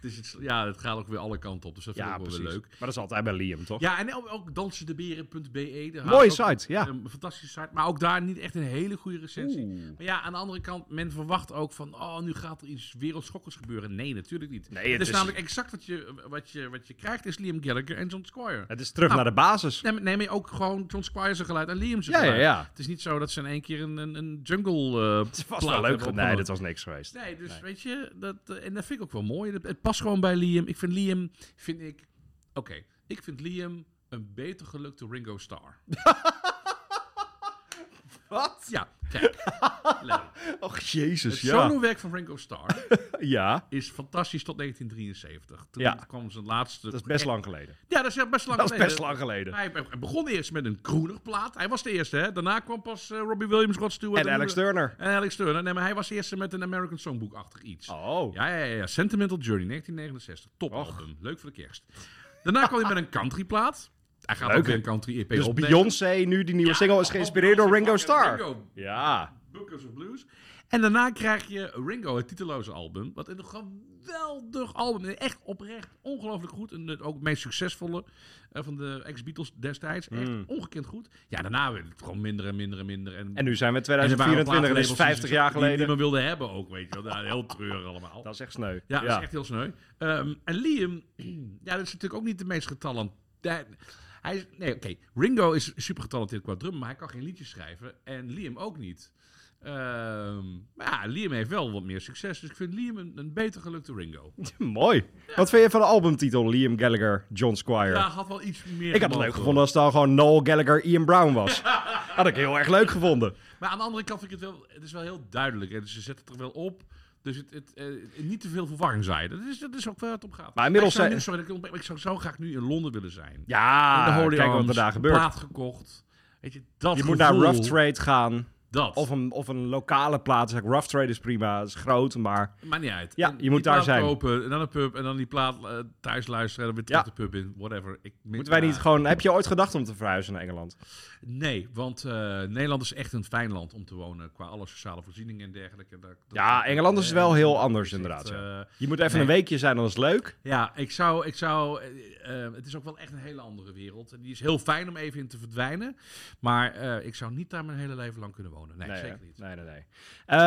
[SPEAKER 4] dus het, is- ja, het gaat ook weer alle kanten op. Dus dat vind
[SPEAKER 3] Ja,
[SPEAKER 4] ik ook wel
[SPEAKER 3] precies.
[SPEAKER 4] weer leer leuk.
[SPEAKER 3] Maar dat is altijd bij Liam, toch?
[SPEAKER 4] Ja, en ook, ook dansendeberen.be. E, daar
[SPEAKER 3] Mooie
[SPEAKER 4] had ook
[SPEAKER 3] site, ja.
[SPEAKER 4] Een fantastische site. Maar ook daar niet echt een hele goede recensie. Maar ja, aan de andere kant, men verwacht ook van... Oh, nu gaat er iets wereldschokkers gebeuren. Nee, natuurlijk niet.
[SPEAKER 3] Nee,
[SPEAKER 4] het
[SPEAKER 3] het
[SPEAKER 4] is,
[SPEAKER 3] is-
[SPEAKER 4] namelijk exact wat je, wat, je, wat je krijgt is Liam Gallagher en John Squire.
[SPEAKER 3] Het is terug
[SPEAKER 4] Nou,
[SPEAKER 3] naar de
[SPEAKER 4] [LAUGHS]
[SPEAKER 3] basis.
[SPEAKER 4] Nee, maar- nee, maar ook gewoon John Squire zijn geluid en Liam zijn
[SPEAKER 3] Ja, ja,
[SPEAKER 4] geluid.
[SPEAKER 3] ja.
[SPEAKER 4] Het is niet zo dat ze in één keer een, een, een jungle eh
[SPEAKER 3] Het is vast
[SPEAKER 4] plaat
[SPEAKER 3] wel leuk.
[SPEAKER 4] hebben
[SPEAKER 3] ge- Nee,
[SPEAKER 4] opgenomen.
[SPEAKER 3] dat was niks geweest.
[SPEAKER 4] Nee, dus weet je, dat, eh, en dat vind ik ook wel mooi. Dat, het past gewoon bij Liam. Ik vind Liam, vind ik, oké, ik vind Liam een beter gelukte Ringo Starr.
[SPEAKER 3] [LAUGHS] Wat?
[SPEAKER 4] Ja, kijk. Leuk.
[SPEAKER 3] [LAUGHS] Och, jezus,
[SPEAKER 4] Het
[SPEAKER 3] ja.
[SPEAKER 4] solowerk van Ringo Starr
[SPEAKER 3] Ja,
[SPEAKER 4] is fantastisch tot 1973. Toen
[SPEAKER 3] Ja.
[SPEAKER 4] kwam zijn laatste...
[SPEAKER 3] dat is best lang geleden.
[SPEAKER 4] Ja, dat is echt best lang
[SPEAKER 3] Dat is
[SPEAKER 4] geleden.
[SPEAKER 3] best lang geleden.
[SPEAKER 4] Hij hij begon eerst met een Kroenerplaat. Hij was de eerste, hè. Daarna kwam pas eh, Robbie Williams, Rod Stewart...
[SPEAKER 3] En Alex Turner.
[SPEAKER 4] En Alex Turner. Nee, maar hij was de eerste met een American Songbook-achtig iets.
[SPEAKER 3] Oh.
[SPEAKER 4] Ja, ja, ja, ja. Sentimental Journey, 1969. Top album. Leuk voor de kerst. Daarna kwam hij met een countryplaat. Hij gaat
[SPEAKER 3] Leuk,
[SPEAKER 4] ook weer
[SPEAKER 3] hè?
[SPEAKER 4] een country EP
[SPEAKER 3] Dus
[SPEAKER 4] opnemen.
[SPEAKER 3] Beyoncé, nu die nieuwe
[SPEAKER 4] Ja,
[SPEAKER 3] single, is geïnspireerd door Ringo Starr.
[SPEAKER 4] Ringo,
[SPEAKER 3] Ja.
[SPEAKER 4] Bookers of Blues. En daarna krijg je Ringo, het titeloze album. Wat een geweldig album. is. Echt oprecht ongelooflijk goed. En het ook het meest succesvolle eh, van de ex-Beatles destijds. Echt ongekend goed. Ja, daarna werd het gewoon minder en minder en minder. En,
[SPEAKER 3] Hmm. En nu zijn we
[SPEAKER 4] en er waren
[SPEAKER 3] 2024 en dat is
[SPEAKER 4] platenlabels die
[SPEAKER 3] 50 jaar
[SPEAKER 4] dus die- die
[SPEAKER 3] geleden.
[SPEAKER 4] niemand wilde hebben ook, weet je wel. Ja, heel treurig allemaal.
[SPEAKER 3] Dat is echt [LAUGHS] sneu.
[SPEAKER 4] Ja, dat is echt heel sneu. Ehm, en Liam, [CLEARS THROAT] ja, dat is natuurlijk ook niet de meest getalenteerd. Hij is, nee, oké. Ringo is super getalenteerd qua drummen, maar hij kan geen liedjes schrijven. En Liam ook niet. Ehm, maar ja, Liam heeft wel wat meer succes. Dus ik vind Liam een, een beter gelukte Ringo.
[SPEAKER 3] Mooi. Wat vind je van de albumtitel Liam Gallagher, John Squire?
[SPEAKER 4] Ja, had wel iets meer.
[SPEAKER 3] ik had het
[SPEAKER 4] gemogen.
[SPEAKER 3] leuk gevonden als het dan gewoon Noel Gallagher, Ian Brown
[SPEAKER 4] [LAUGHS]
[SPEAKER 3] was. had ik heel erg leuk gevonden.
[SPEAKER 4] Maar aan de andere kant vind ik het wel, het is wel heel duidelijk. Hè? Dus ze zetten het er wel op. Dus het, het, eh, niet te veel verwarring zaaien. Dat is, dat is ook waar het om gaat.
[SPEAKER 3] Maar inmiddels
[SPEAKER 4] ik zou,
[SPEAKER 3] zijn-
[SPEAKER 4] nu- sorry, dat ik je ontbreek, maar ik zou zo graag nu in Londen willen zijn.
[SPEAKER 3] Ja,
[SPEAKER 4] in de Holy
[SPEAKER 3] Ah, kijk
[SPEAKER 4] Arms,
[SPEAKER 3] wat er daar gebeurt.
[SPEAKER 4] plaat gekocht. Weet je, dat
[SPEAKER 3] Je moet naar
[SPEAKER 4] gevoel,
[SPEAKER 3] Rough Trade gaan.
[SPEAKER 4] Dat.
[SPEAKER 3] Of een, of een lokale plaats. Rough Trade is prima, is groot, maar...
[SPEAKER 4] Maakt niet uit.
[SPEAKER 3] Ja,
[SPEAKER 4] En
[SPEAKER 3] je
[SPEAKER 4] die
[SPEAKER 3] moet daar
[SPEAKER 4] plaat
[SPEAKER 3] zijn.
[SPEAKER 4] kopen, en dan een pub, en dan die plaat eh, thuis luisteren, en dan weer
[SPEAKER 3] Ja.
[SPEAKER 4] terug de pub in, whatever. Ik,
[SPEAKER 3] Moeten wij niet gewoon... Heb je ooit gedacht om te verhuizen naar Engeland?
[SPEAKER 4] Nee, want eh, Nederland is echt een fijn land om te wonen, qua alle sociale voorzieningen en dergelijke. Daar- dat- eh,
[SPEAKER 3] Ja, Engeland is wel heel anders
[SPEAKER 4] is echt,
[SPEAKER 3] inderdaad. ja.
[SPEAKER 4] eh,
[SPEAKER 3] Je moet even
[SPEAKER 4] nee.
[SPEAKER 3] een weekje zijn, dan is het leuk.
[SPEAKER 4] Ja, ik zou, ik zou eh, eh, het is ook wel echt een hele andere wereld. En die is heel fijn om even in te verdwijnen, maar eh, ik zou niet daar mijn hele leven lang kunnen wonen. Nee,
[SPEAKER 3] hè?
[SPEAKER 4] zeker niet.
[SPEAKER 3] Nee, nee, nee. Eh,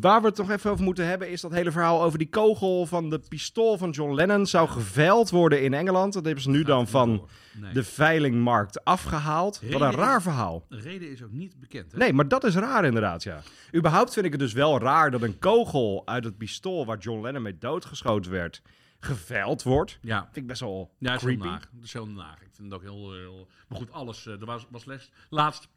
[SPEAKER 3] waar we het nog even over moeten hebben is dat hele verhaal over die kogel van de pistool van John Lennon zou geveild worden in Engeland. Dat hebben ze nu
[SPEAKER 4] Gaat
[SPEAKER 3] dan
[SPEAKER 4] niet
[SPEAKER 3] van
[SPEAKER 4] door. Nee.
[SPEAKER 3] de veilingmarkt afgehaald. Wat een
[SPEAKER 4] Reden is-
[SPEAKER 3] raar verhaal.
[SPEAKER 4] De reden is ook niet bekend. Hè?
[SPEAKER 3] Nee, maar dat is raar inderdaad, ja. Überhaupt vind ik het dus wel raar dat een kogel uit het pistool waar John Lennon mee doodgeschoten werd, geveild wordt.
[SPEAKER 4] Ja.
[SPEAKER 3] Vind ik best wel
[SPEAKER 4] Ja, dat is heel
[SPEAKER 3] creepy.
[SPEAKER 4] naar. Dat is heel naar. Ik vind het ook heel... heel- Maar goed, alles. eh, Er was, was les, laatst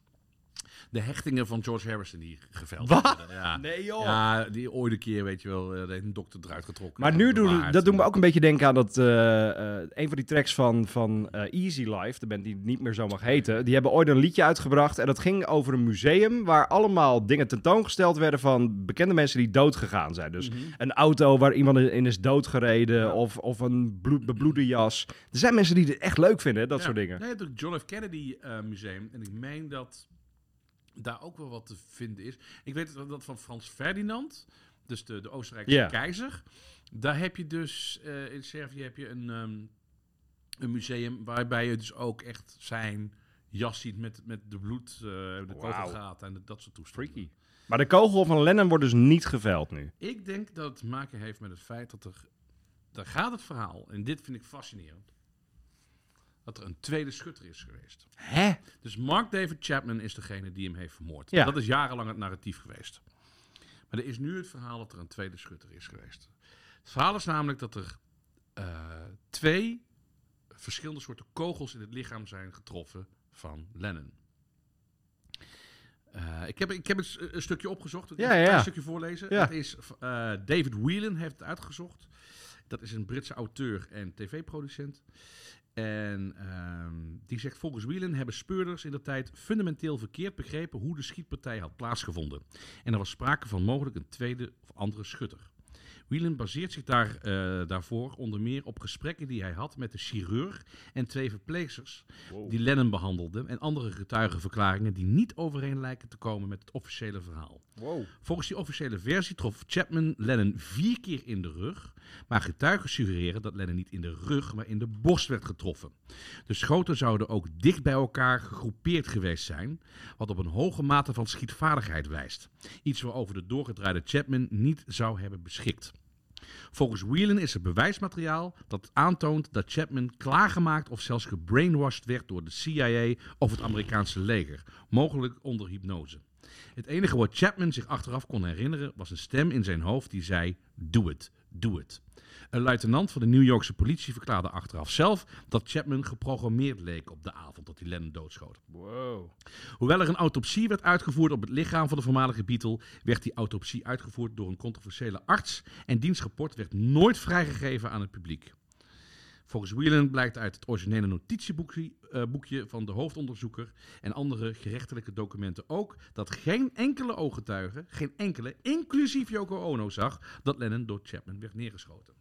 [SPEAKER 4] de hechtingen van George Harrison die geveld
[SPEAKER 3] Wat?
[SPEAKER 4] werden. Ja.
[SPEAKER 3] Nee, joh.
[SPEAKER 4] Ja, die ooit een keer, weet je wel, eh, daar heeft een dokter eruit getrokken.
[SPEAKER 3] Maar nu doen,
[SPEAKER 4] Bewaard.
[SPEAKER 3] dat doen we ook een beetje denken aan dat eh, eh, een van die tracks van, van eh, Easy Life, de band die het niet meer zo mag heten, die hebben ooit een liedje uitgebracht en dat ging over een museum waar allemaal dingen tentoongesteld werden van bekende mensen die doodgegaan zijn. Dus een auto waar iemand in is doodgereden of, of een bloed, bebloede jas. Er zijn mensen die het echt leuk vinden, hè, dat
[SPEAKER 4] Ja.
[SPEAKER 3] soort dingen.
[SPEAKER 4] Nee, het John F. Kennedy eh, Museum. En ik meen dat daar ook wel wat te vinden is. Ik weet dat- dat van Frans Ferdinand, dus de, de Oostenrijkse
[SPEAKER 3] Ja.
[SPEAKER 4] keizer. Daar heb je dus, eh, in Servië heb je een, ehm, een museum waarbij je dus ook echt zijn jas ziet met, met de bloed, eh de
[SPEAKER 3] Wauw.
[SPEAKER 4] kogelgaten en de- dat soort toestanden.
[SPEAKER 3] Freaky. Maar de kogel van Lennon wordt dus niet geveild nu.
[SPEAKER 4] Ik denk dat het te maken heeft met het feit dat er... Daar gaat het verhaal, en dit vind ik fascinerend. Dat er een tweede schutter is geweest.
[SPEAKER 3] Hè?
[SPEAKER 4] Dus Mark David Chapman is degene die hem heeft vermoord.
[SPEAKER 3] Ja.
[SPEAKER 4] Dat is jarenlang het narratief geweest. Maar er is nu het verhaal dat er een tweede schutter is geweest. Het verhaal is namelijk dat er eh, twee verschillende soorten kogels in het lichaam zijn getroffen van Lennon. Eh, ik, heb, ik heb eens een, een stukje opgezocht. Ik
[SPEAKER 3] Ja,
[SPEAKER 4] ga
[SPEAKER 3] ja,
[SPEAKER 4] Een
[SPEAKER 3] ja.
[SPEAKER 4] stukje voorlezen.
[SPEAKER 3] Ja.
[SPEAKER 4] Dat is, eh, David Whelan heeft het uitgezocht. Dat is een Britse auteur en tv-producent. En ehm, die zegt: Volgens Whelan hebben speurders in de tijd fundamenteel verkeerd begrepen hoe de schietpartij had plaatsgevonden. En er was sprake van mogelijk een tweede of andere schutter. Whelan baseert zich daar, eh, daarvoor onder meer op gesprekken die hij had met de chirurg en twee verpleegsters die Lennon behandelden en andere getuigenverklaringen die niet overeen lijken te komen met het officiële verhaal.
[SPEAKER 3] Wow.
[SPEAKER 4] Volgens die officiële versie trof Chapman Lennon vier keer in de rug. Maar getuigen suggereren dat Lennon niet in de rug, maar in de borst werd getroffen. De schoten zouden ook dicht bij elkaar gegroepeerd geweest zijn. Wat op een hoge mate van schietvaardigheid wijst. Iets waarover de doorgedraaide Chapman niet zou hebben beschikt. Volgens Whelan is er bewijsmateriaal dat aantoont dat Chapman klaargemaakt of zelfs gebrainwashed werd door de CIA of het Amerikaanse leger, mogelijk onder hypnose. Het enige wat Chapman zich achteraf kon herinneren was een stem in zijn hoofd die zei: Doe het, doe het. Een luitenant van de New Yorkse politie verklaarde achteraf zelf dat Chapman geprogrammeerd leek op de avond dat hij Lennon doodschoot.
[SPEAKER 3] Wow.
[SPEAKER 4] Hoewel er een autopsie werd uitgevoerd op het lichaam van de voormalige Beatle, werd die autopsie uitgevoerd door een controversiële arts en diens rapport werd nooit vrijgegeven aan het publiek. Volgens Whelan blijkt uit het originele notitieboekje eh, boekje van de hoofdonderzoeker en andere gerechtelijke documenten ook dat geen enkele ooggetuige, geen enkele, inclusief Yoko Ono, zag dat Lennon door Chapman werd neergeschoten.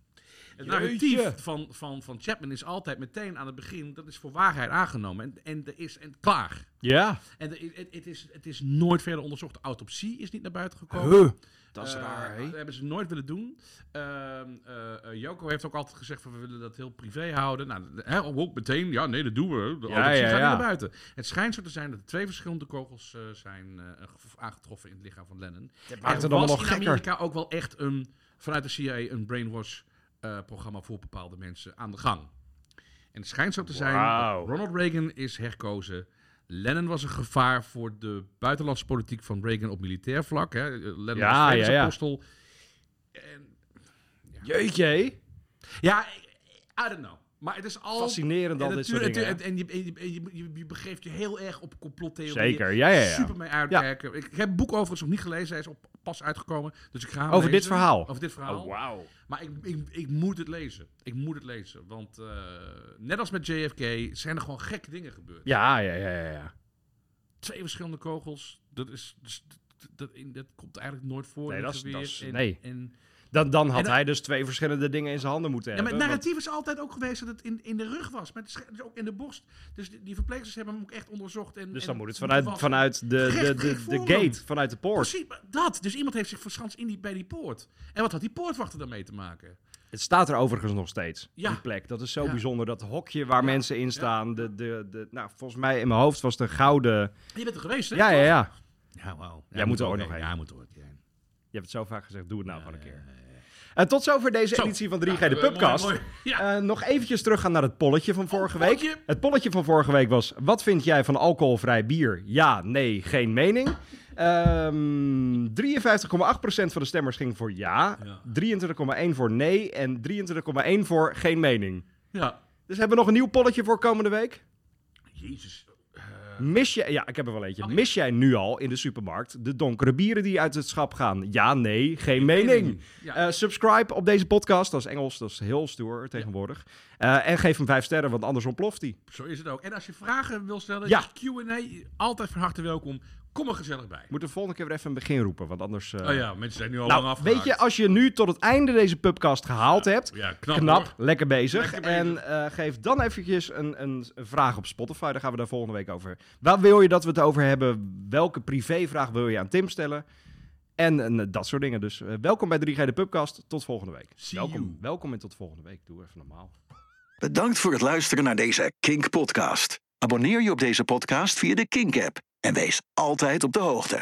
[SPEAKER 4] Het narratief van, van, van Chapman is altijd meteen aan het begin, dat is voor waarheid aangenomen en, en er is en klaar.
[SPEAKER 3] Ja.
[SPEAKER 4] En de- het- het is, het is nooit verder onderzocht. De autopsie is niet naar buiten gekomen.
[SPEAKER 3] Dat is
[SPEAKER 4] Eh,
[SPEAKER 3] raar, hè?
[SPEAKER 4] Dat hebben ze nooit willen doen. Ehm, eh, eh, Joko heeft ook altijd gezegd: van, we willen dat heel privé houden. Nou, de- hè, ook meteen. Ja, nee, dat doen we. De
[SPEAKER 3] Ja,
[SPEAKER 4] autopsie
[SPEAKER 3] ja,
[SPEAKER 4] gaat
[SPEAKER 3] ja.
[SPEAKER 4] niet naar buiten. Het schijnt zo te zijn dat er twee verschillende kogels eh, zijn eh, ge- aangetroffen in het lichaam van Lennon.
[SPEAKER 3] Dat
[SPEAKER 4] Er
[SPEAKER 3] maakt het
[SPEAKER 4] was
[SPEAKER 3] allemaal nog
[SPEAKER 4] in
[SPEAKER 3] gekker.
[SPEAKER 4] Amerika ook wel echt een, vanuit de CIA een brainwash-programma voor bepaalde mensen aan de gang. En het schijnt zo te zijn,
[SPEAKER 3] Wauw.
[SPEAKER 4] Ronald Reagan is herkozen. Lennon was een gevaar voor de buitenlandse politiek van Reagan op militair vlak. Hè. Lennon
[SPEAKER 3] Ja,
[SPEAKER 4] was
[SPEAKER 3] ja,
[SPEAKER 4] vredesapostel. En,
[SPEAKER 3] Jeetje, hé.
[SPEAKER 4] ja, I don't know. Maar het is al...
[SPEAKER 3] Fascinerend al
[SPEAKER 4] en
[SPEAKER 3] dit soort
[SPEAKER 4] natuurlijk-
[SPEAKER 3] dingen. hè?
[SPEAKER 4] En, je, en je, en je, je- je begeeft je heel erg op complottheorieën.
[SPEAKER 3] Zeker, ja, ja, ja.
[SPEAKER 4] Super mee uitkijken. Ik heb het boek overigens nog niet gelezen. Hij is op, pas uitgekomen. Dus ik ga hem
[SPEAKER 3] Over
[SPEAKER 4] lezen.
[SPEAKER 3] dit verhaal?
[SPEAKER 4] Over dit verhaal.
[SPEAKER 3] Oh, wauw.
[SPEAKER 4] Maar ik, ik, ik moet het lezen. Ik moet het lezen. Want eh, net als met JFK zijn er gewoon gekke dingen gebeurd.
[SPEAKER 3] Ja, ja, ja, ja, ja.
[SPEAKER 4] Twee verschillende kogels. Dat, is, dus dat, dat, in- dat komt eigenlijk nooit voor.
[SPEAKER 3] Nee,
[SPEAKER 4] in
[SPEAKER 3] dat
[SPEAKER 4] het
[SPEAKER 3] is- dat
[SPEAKER 4] geweer.
[SPEAKER 3] is-
[SPEAKER 4] En-
[SPEAKER 3] nee.
[SPEAKER 4] en,
[SPEAKER 3] Dan, dan
[SPEAKER 4] En
[SPEAKER 3] had
[SPEAKER 4] dat-
[SPEAKER 3] hij dus twee verschillende dingen in zijn handen moeten
[SPEAKER 4] Ja, maar
[SPEAKER 3] hebben.
[SPEAKER 4] het narratief is altijd ook geweest dat het in, in de rug was. Maar het is dus ook in de borst. Dus die, die verpleegsters hebben hem ook echt onderzocht. En,
[SPEAKER 3] want- dus
[SPEAKER 4] en
[SPEAKER 3] dan moet het vanuit,
[SPEAKER 4] was-
[SPEAKER 3] vanuit de, de,
[SPEAKER 4] Gerecht
[SPEAKER 3] de,
[SPEAKER 4] voor
[SPEAKER 3] de
[SPEAKER 4] hem.
[SPEAKER 3] gate, vanuit de poort.
[SPEAKER 4] Precies, maar dat. Dus iemand heeft zich verschanst in die, bij die poort. En wat had die poortwachter daarmee te maken?
[SPEAKER 3] Het staat er overigens nog steeds,
[SPEAKER 4] Ja.
[SPEAKER 3] die plek. Dat is zo
[SPEAKER 4] Ja.
[SPEAKER 3] bijzonder, dat hokje waar mensen in staan. De, de, de, nou, volgens mij in mijn hoofd was de gouden...
[SPEAKER 4] Je bent er geweest, hè?
[SPEAKER 3] Ja, ja, ja.
[SPEAKER 4] Ja, wauw.
[SPEAKER 3] Jij moet er ook nog heen.
[SPEAKER 4] Ja, moet er ook heen.
[SPEAKER 3] Je hebt het zo vaak gezegd, doe het nou gewoon een keer. En tot zover deze
[SPEAKER 4] Zo.
[SPEAKER 3] editie van 3G,
[SPEAKER 4] Ja,
[SPEAKER 3] de
[SPEAKER 4] mooi,
[SPEAKER 3] Pubcast.
[SPEAKER 4] mooi. Ja.
[SPEAKER 3] Eh, nog eventjes teruggaan naar het polletje van vorige
[SPEAKER 4] Oh, polletje.
[SPEAKER 3] week. Het polletje van vorige week was, wat vind jij van alcoholvrij bier? Ja, nee, geen mening. Ehm 53,8% van de stemmers ging voor ja, 23,1% voor nee en 23,1% voor geen mening.
[SPEAKER 4] Ja.
[SPEAKER 3] Dus hebben we nog een nieuw polletje voor komende week?
[SPEAKER 4] Jezus.
[SPEAKER 3] Mis jij, ja, ik heb er wel eentje.
[SPEAKER 4] Oké.
[SPEAKER 3] Mis jij nu al in de supermarkt de donkere bieren die uit het schap gaan? Ja, nee, geen mening.
[SPEAKER 4] Ja.
[SPEAKER 3] Eh, subscribe op deze podcast. Dat is Engels, dat is heel stoer tegenwoordig. Eh, en geef hem vijf sterren, want anders ontploft hij.
[SPEAKER 4] Zo is het ook. En als je vragen wil stellen,
[SPEAKER 3] Ja.
[SPEAKER 4] ja. Q&A, altijd van harte welkom. Kom er gezellig bij.
[SPEAKER 3] Moet de volgende keer weer even een begin roepen, want anders... eh,
[SPEAKER 4] Oh ja, mensen zijn nu al lang
[SPEAKER 3] Nou,
[SPEAKER 4] afgehaakt.
[SPEAKER 3] weet je, als je nu tot het einde deze podcast gehaald hebt...
[SPEAKER 4] Ja, knap,
[SPEAKER 3] knap,
[SPEAKER 4] hoor.
[SPEAKER 3] lekker bezig.
[SPEAKER 4] Lekker bezig.
[SPEAKER 3] En eh, geef dan eventjes een, een vraag op Spotify. Daar gaan we daar volgende week over. Waar wil je dat we het over hebben? Welke privévraag wil je aan Tim stellen? En, en dat soort dingen. Dus eh, welkom bij 3G de Pubcast. Tot volgende week.
[SPEAKER 4] See
[SPEAKER 3] welkom,
[SPEAKER 4] you.
[SPEAKER 3] welkom en tot volgende week. Doe even normaal.
[SPEAKER 1] Bedankt voor het luisteren naar deze Kink Podcast. Abonneer je op deze podcast via de Kink app en wees altijd op de hoogte.